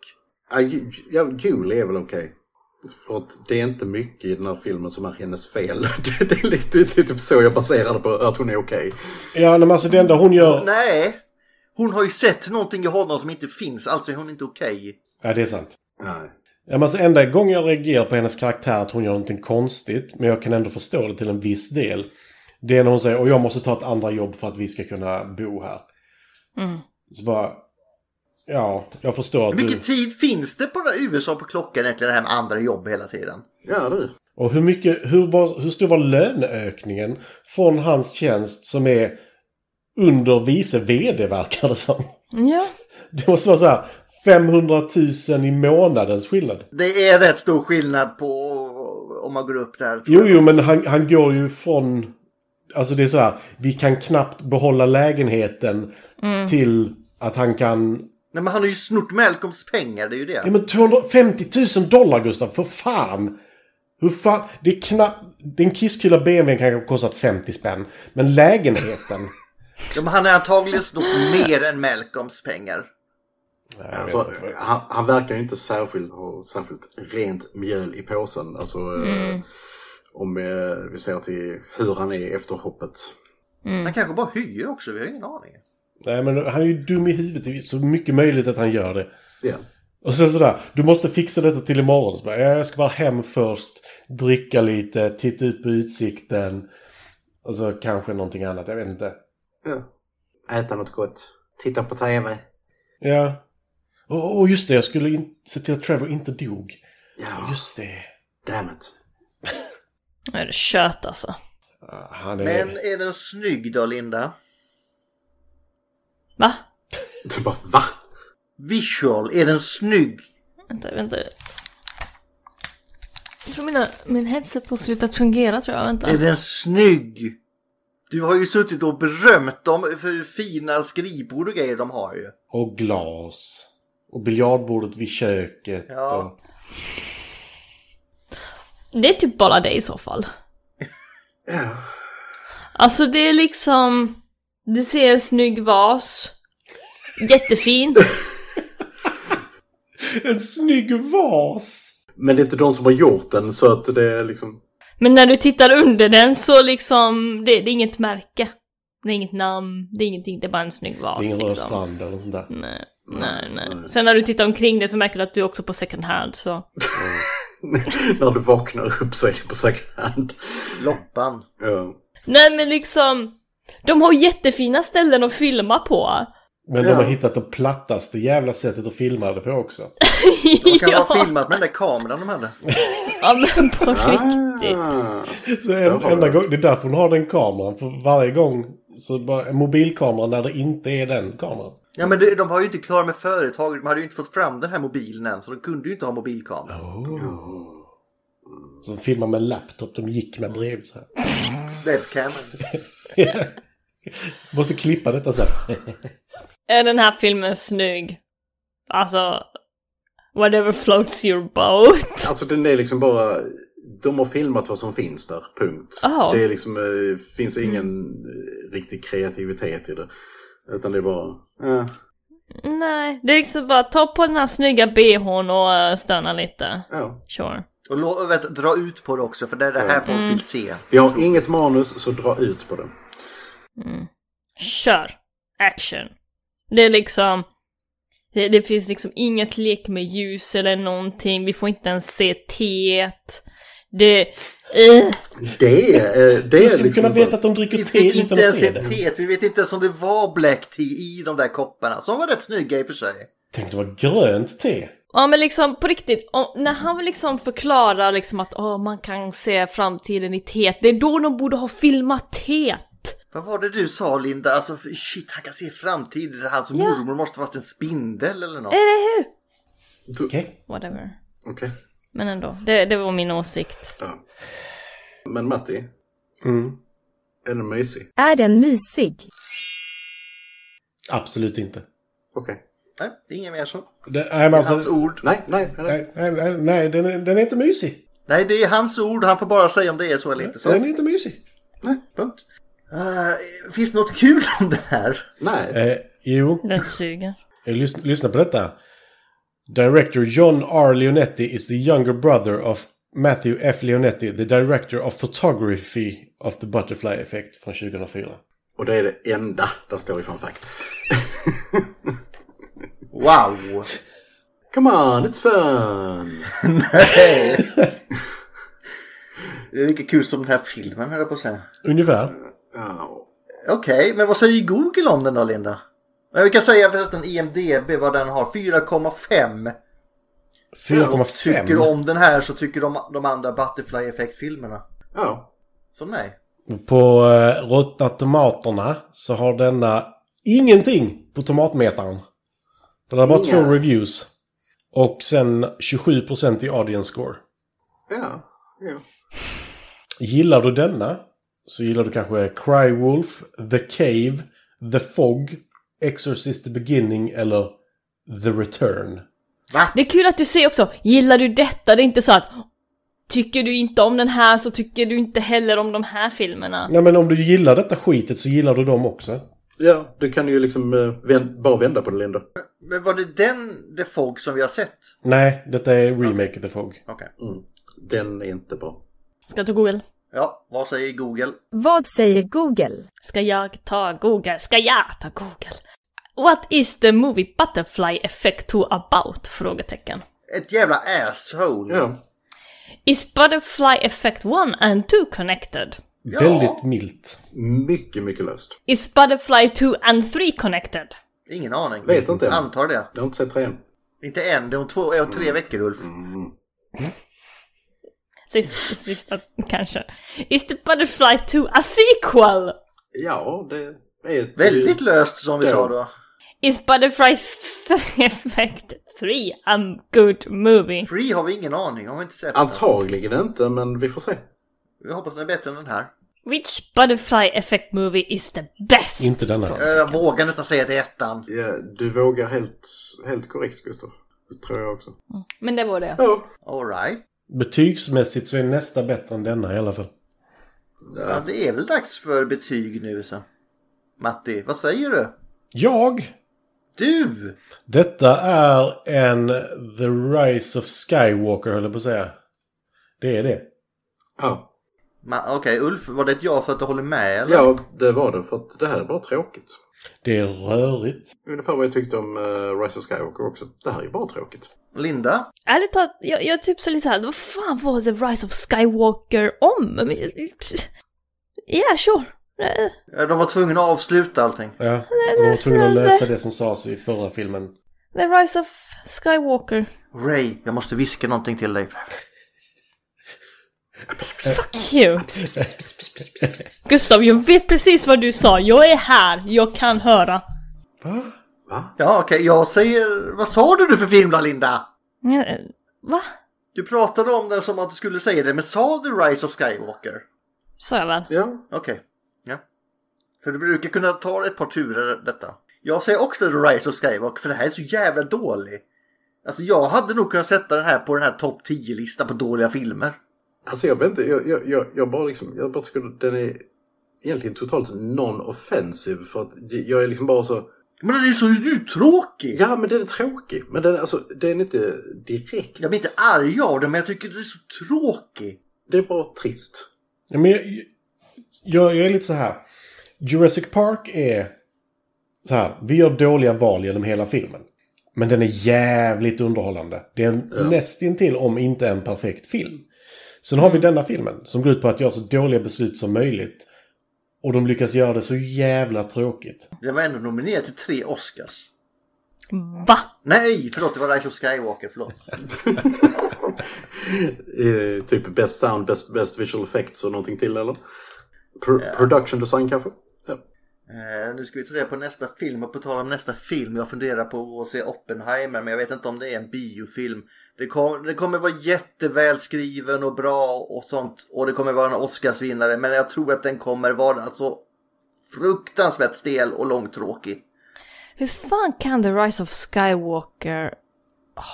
[SPEAKER 5] Ja, ju- ja, Julie är väl okej. För att det är inte mycket i den här filmen som är hennes fel. [laughs] Det, det är lite det är typ så jag baserade på att hon är okej.
[SPEAKER 6] Ja, nej, men alltså det enda hon gör...
[SPEAKER 4] Nej! Hon har ju sett någonting i honom som inte finns, alltså är hon inte okej.
[SPEAKER 6] Ja, det är sant.
[SPEAKER 5] Nej.
[SPEAKER 6] Ja, men alltså, enda gången jag reagerar på hennes karaktär att hon gör någonting konstigt, men jag kan ändå förstå det till en viss del. Det är när hon säger och jag måste ta ett andra jobb för att vi ska kunna bo här.
[SPEAKER 1] Mm.
[SPEAKER 6] Så bara... Ja, jag förstår att
[SPEAKER 4] Hur
[SPEAKER 6] du...
[SPEAKER 4] mycket tid finns det på den här USA på klockan egentligen, det här med andra jobb hela tiden?
[SPEAKER 5] Ja du.
[SPEAKER 6] Och hur, mycket, hur, var, hur stor var löneökningen från hans tjänst som är under vice vd verkar det som. [laughs]
[SPEAKER 1] Ja.
[SPEAKER 6] Det måste vara så här 500 000 i månadens skillnad.
[SPEAKER 4] Det är rätt stor skillnad på om man går upp där.
[SPEAKER 6] Jo, jo, men han, han går ju från... Alltså det är så här, vi kan knappt behålla lägenheten till att han kan...
[SPEAKER 4] Nej, men han har ju snott Malcolms pengar, det är ju det.
[SPEAKER 6] Ja men 250 000 dollar Gustav, för fan! Hur fan, det är knappt... Den kisskula BMWn kanske har kostat 50 spänn. Men lägenheten...
[SPEAKER 4] Ja, men han har antagligen snott mer än Malcolms pengar.
[SPEAKER 5] Alltså, han, han verkar ju inte särskilt ha särskilt rent mjöl i påsen. Alltså, eh, om eh, vi ser till hur han är efter hoppet.
[SPEAKER 1] Mm.
[SPEAKER 4] Han kanske bara hyr också, vi har ingen aning.
[SPEAKER 6] Nej men han är ju dum i huvudet, det är så mycket möjligt att han gör det.
[SPEAKER 5] Ja.
[SPEAKER 6] Och sen sådär, du måste fixa detta till imorgon. Så bara, "Ja, jag ska bara hem först, dricka lite, titta ut på utsikten. Och så kanske någonting annat, jag vet inte.
[SPEAKER 5] Äta något gott. Titta på TV.
[SPEAKER 6] Ja. Och och just det, jag skulle in- se till att Trevor inte dog.
[SPEAKER 5] Ja,
[SPEAKER 6] Just det.
[SPEAKER 5] damn it.
[SPEAKER 1] Nu är det kött alltså.
[SPEAKER 6] Ah, Han är...
[SPEAKER 4] Men är den snygg då, Linda?
[SPEAKER 1] Va?
[SPEAKER 5] Du bara, va?
[SPEAKER 4] Visual, är den snygg?
[SPEAKER 1] Vänta, vänta. Jag tror mina, min headset har slutat fungera tror jag, vänta.
[SPEAKER 4] Är den snygg? Du har ju suttit och berömt dem för hur fina skrivbord och grejer de har ju.
[SPEAKER 6] Och glas. Och biljardbordet vid köket.
[SPEAKER 4] Ja.
[SPEAKER 6] Och...
[SPEAKER 1] Det är typ bara det i så fall.
[SPEAKER 5] Ja.
[SPEAKER 1] Alltså det är liksom, du ser en snygg vas. [laughs] Jättefin.
[SPEAKER 6] En snygg vas!
[SPEAKER 5] Men det är inte de som har gjort den så att det är liksom... [laughs]
[SPEAKER 1] Men när du tittar under den så liksom, det, det är inget märke. Det är inget namn, det är ingenting, det är bara en snygg vas
[SPEAKER 6] Ingen
[SPEAKER 1] liksom.
[SPEAKER 6] rödstrand eller sånt där.
[SPEAKER 1] Nej, nej, nej. Sen när du tittar omkring dig så märker du att du är också på second hand så.
[SPEAKER 5] När du vaknar upp så är det på second hand.
[SPEAKER 4] Loppan.
[SPEAKER 5] Ja.
[SPEAKER 1] Nej men liksom, de har jättefina ställen att filma på.
[SPEAKER 6] Men de
[SPEAKER 5] Ja.
[SPEAKER 6] har hittat det plattaste jävla sättet att filma det på också.
[SPEAKER 4] De kan
[SPEAKER 1] [laughs]
[SPEAKER 6] [laughs]
[SPEAKER 1] ja,
[SPEAKER 4] ha filmat med den där kameran de hade.
[SPEAKER 1] ja, men på riktigt.
[SPEAKER 5] Ah.
[SPEAKER 6] Så
[SPEAKER 5] Där
[SPEAKER 6] en,
[SPEAKER 5] har
[SPEAKER 6] enda
[SPEAKER 5] vi
[SPEAKER 6] gång, det är därför hon har den kameran. För varje gång så bara en mobilkamera när det inte är den kameran.
[SPEAKER 4] Ja men det- de var ju inte klara med företaget, de hade ju inte fått fram den här mobilen än så de kunde ju inte ha mobilkamera.
[SPEAKER 6] Som filmar med en laptop, de gick med bredvid så här.
[SPEAKER 4] Webcam.
[SPEAKER 6] [laughs] Måste klippa detta sen.
[SPEAKER 1] Är den här filmen snygg? Alltså, whatever floats your boat.
[SPEAKER 5] Alltså den är liksom bara... De har filmat vad som finns där, punkt.
[SPEAKER 1] Ja.
[SPEAKER 5] Det är liksom, eh, finns ingen eh, riktig kreativitet i det. Utan det är bara... Eh.
[SPEAKER 1] Nej, det är liksom bara ta på den här snygga bhn och eh, stöna lite.
[SPEAKER 5] Ja.
[SPEAKER 1] Sure.
[SPEAKER 4] Och lå, och vänta, dra ut på det också, för det är det här
[SPEAKER 5] Ja.
[SPEAKER 4] folk vill se.
[SPEAKER 5] Vi har inget manus, så dra ut på den.
[SPEAKER 1] Kör! Action! Det är liksom... Det, det finns liksom inget lek med ljus eller någonting, vi får inte ens se teet. Det... eh.
[SPEAKER 5] Det är, eh, det
[SPEAKER 6] Vi
[SPEAKER 5] är
[SPEAKER 6] skulle
[SPEAKER 5] liksom...
[SPEAKER 6] kunna
[SPEAKER 5] en sån-
[SPEAKER 6] veta att de dricker
[SPEAKER 4] Vi
[SPEAKER 6] te
[SPEAKER 4] fick inte
[SPEAKER 6] utan att
[SPEAKER 4] ens
[SPEAKER 6] se
[SPEAKER 4] ett
[SPEAKER 6] det.
[SPEAKER 4] teet, vi vet inte ens om det var black tea i de där kopparna, som var rätt snygga i och för sig.
[SPEAKER 6] Tänk det var grönt te.
[SPEAKER 1] Ja men liksom på riktigt, om, när han liksom förklarar liksom att åh, man kan se framtiden i teet, det är då de borde ha filmat teet.
[SPEAKER 4] Vad var det du sa Linda? Alltså för- shit, han kan se framtiden. Hans
[SPEAKER 1] Ja.
[SPEAKER 4] mormor måste vara en spindel eller något.
[SPEAKER 1] Eller hur?
[SPEAKER 6] Okej.
[SPEAKER 1] Whatever.
[SPEAKER 5] Okej.
[SPEAKER 1] Men ändå, det, det var min åsikt.
[SPEAKER 5] Ja. Men Matti,
[SPEAKER 6] Mm.
[SPEAKER 5] är den mysig?
[SPEAKER 12] Är den mysig?
[SPEAKER 6] Absolut inte.
[SPEAKER 5] Okej.
[SPEAKER 4] Nej, det är inget mer så.
[SPEAKER 6] Det, nej, men
[SPEAKER 4] Det är
[SPEAKER 6] alltså,
[SPEAKER 4] hans ord.
[SPEAKER 5] Nej, nej, nej.
[SPEAKER 6] nej, nej, nej, nej den, är, den är inte mysig.
[SPEAKER 4] Nej, det är hans ord. Han får bara säga om det är så eller inte så.
[SPEAKER 6] Den är inte mysig.
[SPEAKER 4] Nej, punkt. Eh, finns det något kul om det här?
[SPEAKER 5] Nej.
[SPEAKER 6] Eh, jo.
[SPEAKER 1] Den suger.
[SPEAKER 6] Eh, Lyssna, lyssna på detta. Director John R. Leonetti is the younger brother of Matthew F. Leonetti, the director of photography of the butterfly effect från 2004.
[SPEAKER 5] Och det är det enda där står i Fun Facts. [laughs]
[SPEAKER 4] Wow!
[SPEAKER 5] Come on, it's fun!
[SPEAKER 4] Nej! [laughs] det är lika kul som den här filmen höll jag på att säga.
[SPEAKER 6] Ungefär.
[SPEAKER 5] Ja.
[SPEAKER 4] Okej, men vad säger Google om den då Linda? Men vi kan säga förresten IMDB vad den har. 4,5. Tycker du
[SPEAKER 6] 4,5.
[SPEAKER 4] om den här så tycker de de andra Butterfly Effect-filmerna.
[SPEAKER 5] Ja.
[SPEAKER 4] Så nej.
[SPEAKER 6] På eh, ruttna tomaterna så har denna ingenting på tomatmetaren. För det var bara
[SPEAKER 5] Inga.
[SPEAKER 6] två reviews. Och sen 27% i audience score.
[SPEAKER 5] Ja. ja.
[SPEAKER 6] Gillar du denna så gillar du kanske Cry Wolf, The Cave, The Fog, Exorcist the Beginning eller The Return.
[SPEAKER 1] Det är kul att du säger också, gillar du detta? Det är inte så att tycker du inte om den här så tycker du inte heller om de här filmerna.
[SPEAKER 6] Nej men om du gillar detta skitet så gillar du dem också.
[SPEAKER 5] Ja, du kan ju liksom eh, vän- bara vända på det, Linda.
[SPEAKER 4] Men var det den The Fog som vi har sett?
[SPEAKER 6] Nej, detta är remake The Fog.
[SPEAKER 4] Okej.
[SPEAKER 5] Den är inte bra.
[SPEAKER 1] Ska jag ta Google?
[SPEAKER 4] Ja, vad säger Google?
[SPEAKER 12] Vad säger Google?
[SPEAKER 1] Ska jag ta Google? Ska jag ta Google? What is the movie Butterfly Effect to about? Frågetecken.
[SPEAKER 4] Ett jävla asshole!
[SPEAKER 5] Ja.
[SPEAKER 1] Is Butterfly Effect 1 and 2 connected?
[SPEAKER 6] Väldigt milt.
[SPEAKER 5] Mycket, mycket löst.
[SPEAKER 1] Is Butterfly 2 and 3 connected?
[SPEAKER 4] Ingen aning.
[SPEAKER 5] Vet inte.
[SPEAKER 4] Antar det.
[SPEAKER 5] Jag har inte sett trean.
[SPEAKER 4] Inte än, det är om två, är om tre veckor Ulf.
[SPEAKER 5] Mm.
[SPEAKER 1] Sista, sista kanske. Is the Butterfly 2 a sequel?
[SPEAKER 5] Ja, det är...
[SPEAKER 4] Väldigt löst som vi
[SPEAKER 5] Ja.
[SPEAKER 4] sa då.
[SPEAKER 1] Is Butterfly [laughs] th- Effect 3 a good movie?
[SPEAKER 4] Free har vi ingen aning om, vi inte sett den.
[SPEAKER 5] Antagligen inte, men vi får se.
[SPEAKER 4] Vi hoppas den är bättre än den här.
[SPEAKER 1] Which Butterfly Effect movie is the best?
[SPEAKER 6] Inte denna.
[SPEAKER 4] Eh, Jag vågar nästan säga att det är ettan.
[SPEAKER 5] Ja, du vågar helt, helt korrekt, Gustav. Det tror jag också.
[SPEAKER 1] Mm. Men det var det.
[SPEAKER 5] Ja.
[SPEAKER 4] Alright.
[SPEAKER 6] Betygsmässigt så är nästa bättre än denna i alla fall.
[SPEAKER 4] Ja, det är väl dags för betyg nu så. Matti, vad säger du?
[SPEAKER 6] Jag!
[SPEAKER 4] Du!
[SPEAKER 6] Detta är en The Rise of Skywalker höll jag på att säga. Det är det.
[SPEAKER 5] Ja.
[SPEAKER 4] Ma- Okej, Ulf, var det ett ja för att du håller med eller?
[SPEAKER 5] ja, det var det. För att det här är bara tråkigt.
[SPEAKER 6] Det är rörigt.
[SPEAKER 5] Ungefär vad jag tyckte om eh, Rise of Skywalker också. Det här är bara tråkigt.
[SPEAKER 4] Linda?
[SPEAKER 1] Ärligt talat, jag, jag typ så lite såhär, vad fan var The Rise of Skywalker om? Men- Yeah, sure. Eh,
[SPEAKER 4] Eh, De var tvungna att avsluta allting.
[SPEAKER 6] Ja, de var tvungna att lösa det som sades i förra filmen.
[SPEAKER 1] The Rise of Skywalker.
[SPEAKER 4] Ray, jag måste viska någonting till dig.
[SPEAKER 1] Fuck you! Gustav, jag vet precis vad du sa. Jag är här, jag kan höra.
[SPEAKER 6] Va?
[SPEAKER 4] Ja, okej, jag säger... Vad sa du nu för film då, Linda?
[SPEAKER 1] Eh, Va?
[SPEAKER 4] Du pratade om den som att du skulle säga det, men sa du Rise of Skywalker?
[SPEAKER 1] Sa jag väl?
[SPEAKER 5] Ja.
[SPEAKER 4] Okej, ja. För du brukar kunna ta ett par turer detta. Jag säger också The Rise of Skywalker, för det här är så jävla dålig. Alltså jag hade nog kunnat sätta den här på den här topp 10-listan på dåliga filmer.
[SPEAKER 5] Alltså jag vet inte. Jag, jag, jag, jag bara liksom... Jag bara tycker att den är egentligen totalt non-offensive. För att jag är liksom bara så...
[SPEAKER 4] Men den är så uttråkig!
[SPEAKER 5] Ja, men den är tråkig. Men den, alltså, den är inte direkt...
[SPEAKER 4] Jag blir inte arg av den, men jag tycker den är så tråkig.
[SPEAKER 5] Det är bara trist. [laughs]
[SPEAKER 6] Ja, men jag, jag, jag är lite så här. Jurassic Park är så här. Vi gör dåliga val genom hela filmen. Men den är jävligt underhållande. Det är en,
[SPEAKER 5] Ja.
[SPEAKER 6] nästintill, om inte en perfekt film. Sen har vi denna filmen som går ut på att göra så dåliga beslut som möjligt. Och de lyckas göra det så jävla tråkigt.
[SPEAKER 4] Den var ändå nominerad till tre Oscars.
[SPEAKER 1] Va?
[SPEAKER 4] Nej, förlåt, det var Rise of Skywalker, förlåt.
[SPEAKER 5] Eh, typ best sound, best, best visual effects och någonting till eller? Pro- Production design kanske? Ja.
[SPEAKER 4] Eh, nu ska vi ta reda på nästa film och på tal om nästa film. Jag funderar på att se Oppenheimer men jag vet inte om det är en biofilm. Det, kom, det kommer vara jättevälskriven och bra och sånt. Och det kommer vara en Oscarsvinnare men jag tror att den kommer vara så fruktansvärt stel och långtråkig.
[SPEAKER 1] Hur fan kan The Rise of Skywalker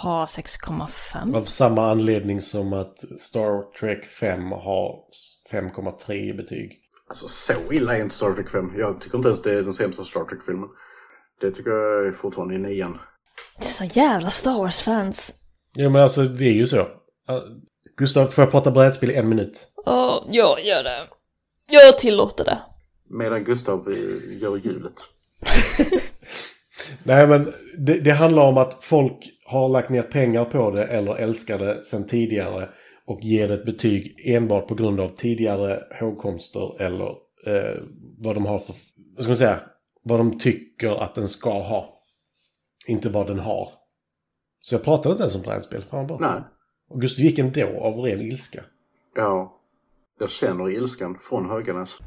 [SPEAKER 1] ha 6,5?
[SPEAKER 6] Av samma anledning som att Star Trek 5 har 5,3 i betyg.
[SPEAKER 5] Alltså så illa är inte Star Trek 5. Jag tycker inte ens det är den sämsta Star Trek-filmen. Det tycker jag är fortfarande är nian.
[SPEAKER 1] Det är så jävla Star Wars-fans.
[SPEAKER 6] Ja men alltså det är ju så. Uh, Gustav, får jag prata brädspel i en minut?
[SPEAKER 1] Ja, jag gör det. Jag tillåter det.
[SPEAKER 5] Medan Gustav eh, gör hjulet.
[SPEAKER 6] Nej men det, det handlar om att folk har lagt ner pengar på det eller älskar det sedan tidigare och ger det ett betyg enbart på grund av tidigare hågkomster eller eh, vad de har för, vad ska man säga, vad de tycker att den ska ha. Inte vad den har. Så jag pratade inte ens om brädspel. Fan vad bra.
[SPEAKER 5] Nej.
[SPEAKER 6] Och Gustav gick ändå av ren ilska.
[SPEAKER 5] Ja. Jag känner ilskan från Höganäs.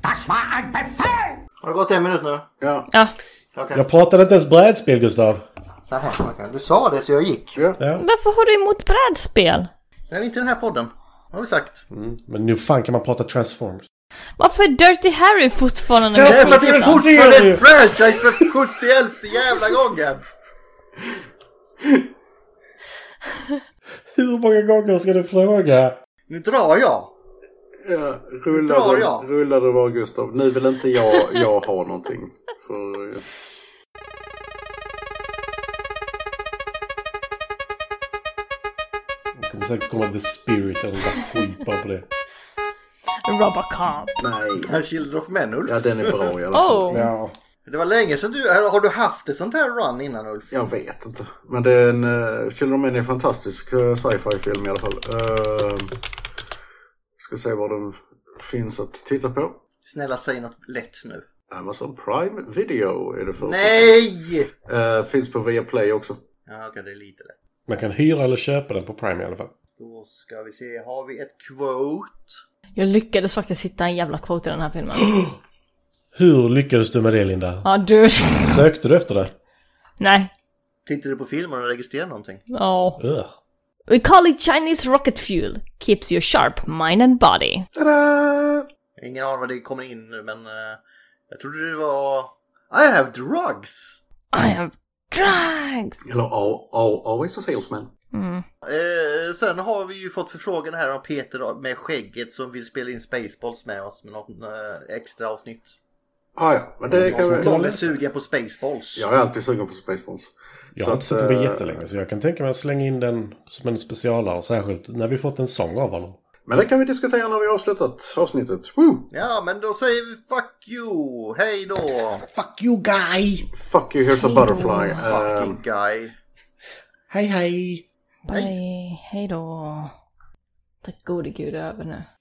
[SPEAKER 4] Har det gått en minut nu?
[SPEAKER 5] Ja.
[SPEAKER 1] Ja.
[SPEAKER 4] Okej.
[SPEAKER 6] Jag pratade inte ens brädspel Gustav.
[SPEAKER 4] Nähä, okej. Du sa det så jag gick.
[SPEAKER 6] Ja.
[SPEAKER 1] Varför har du emot brädspel?
[SPEAKER 4] Nej, inte den här podden. Har vi sagt.
[SPEAKER 6] Mm. Men nu fan kan man prata transformers.
[SPEAKER 1] Varför är Dirty Harry fortfarande
[SPEAKER 4] Det är
[SPEAKER 1] med
[SPEAKER 4] för att det är
[SPEAKER 1] på listan?
[SPEAKER 4] fortfarande ett franchise för 71 jävla gången!
[SPEAKER 6] Hur många gånger ska du fråga?
[SPEAKER 4] Nu drar jag!
[SPEAKER 5] Ja,
[SPEAKER 4] Drar
[SPEAKER 5] rullar
[SPEAKER 4] jag?
[SPEAKER 5] det, rullar det bara Gustav. Nu vill inte jag, jag ha någonting. För, eh,
[SPEAKER 6] Det kommer säkert komma The Spirit eller något skit bara på det.
[SPEAKER 1] Robocop.
[SPEAKER 5] nej.
[SPEAKER 4] Herr Children of Men, Ulf.
[SPEAKER 5] Ja, den är bra i alla fall.
[SPEAKER 1] Oh!
[SPEAKER 6] Ja.
[SPEAKER 4] Det var länge sedan du... Har du haft ett sånt här run innan Ulf?
[SPEAKER 5] Jag vet inte. Men det är en... Uh, Children of Men är en fantastisk eh, sci-fi film i alla fall. Uh, ska se vad den finns att titta på.
[SPEAKER 4] Snälla säg något lätt nu.
[SPEAKER 5] Amazon Prime Video är det första.
[SPEAKER 4] Nej!
[SPEAKER 5] Eh, finns på Viaplay också.
[SPEAKER 4] Ja, okej, det är lite lätt.
[SPEAKER 6] Man kan hyra eller köpa den på Prime i alla fall.
[SPEAKER 4] Då ska vi se, har vi ett quote?
[SPEAKER 1] Jag lyckades faktiskt hitta en jävla quote i den här filmen.
[SPEAKER 6] Hur lyckades du med det Linda?
[SPEAKER 1] [gasps] Ja, du...
[SPEAKER 6] Sökte du efter det?
[SPEAKER 1] Nej.
[SPEAKER 4] Tittar du på filmen och registrerar någonting?
[SPEAKER 1] Ja.
[SPEAKER 6] Ugh.
[SPEAKER 1] We call it Chinese rocket fuel. Keeps you sharp, mind and body.
[SPEAKER 5] Tada!
[SPEAKER 4] Ingen aning vad det kommer in nu, men eh, jag trodde det var... I have drugs!
[SPEAKER 1] I have drugs!
[SPEAKER 5] Eller all, all, Always a Salesman.
[SPEAKER 4] Eh, sen har vi ju fått förfrågan här om Peter med skägget som vill spela in Spaceballs med oss med något eh, extra avsnitt.
[SPEAKER 5] Ah, ja, men det kan vi...
[SPEAKER 4] Någon är sugen på Spaceballs.
[SPEAKER 5] Jag är alltid sugen på Spaceballs.
[SPEAKER 6] Jag
[SPEAKER 5] Så att,
[SPEAKER 6] har inte sett den på
[SPEAKER 5] eh,
[SPEAKER 6] jättelänge så jag kan tänka mig att slänga in den som en specialare. Särskilt när vi fått en sång av honom.
[SPEAKER 5] Men det kan vi diskutera när vi har avslutat avsnittet. Woo!
[SPEAKER 4] Ja, men då säger vi fuck you! Hej då!
[SPEAKER 6] Fuck you guy!
[SPEAKER 5] Fuck you, here's a butterfly. Eh,
[SPEAKER 4] Fucking guy.
[SPEAKER 6] Hej hej!
[SPEAKER 1] Bye. Hej då. Tack gode gud över nu.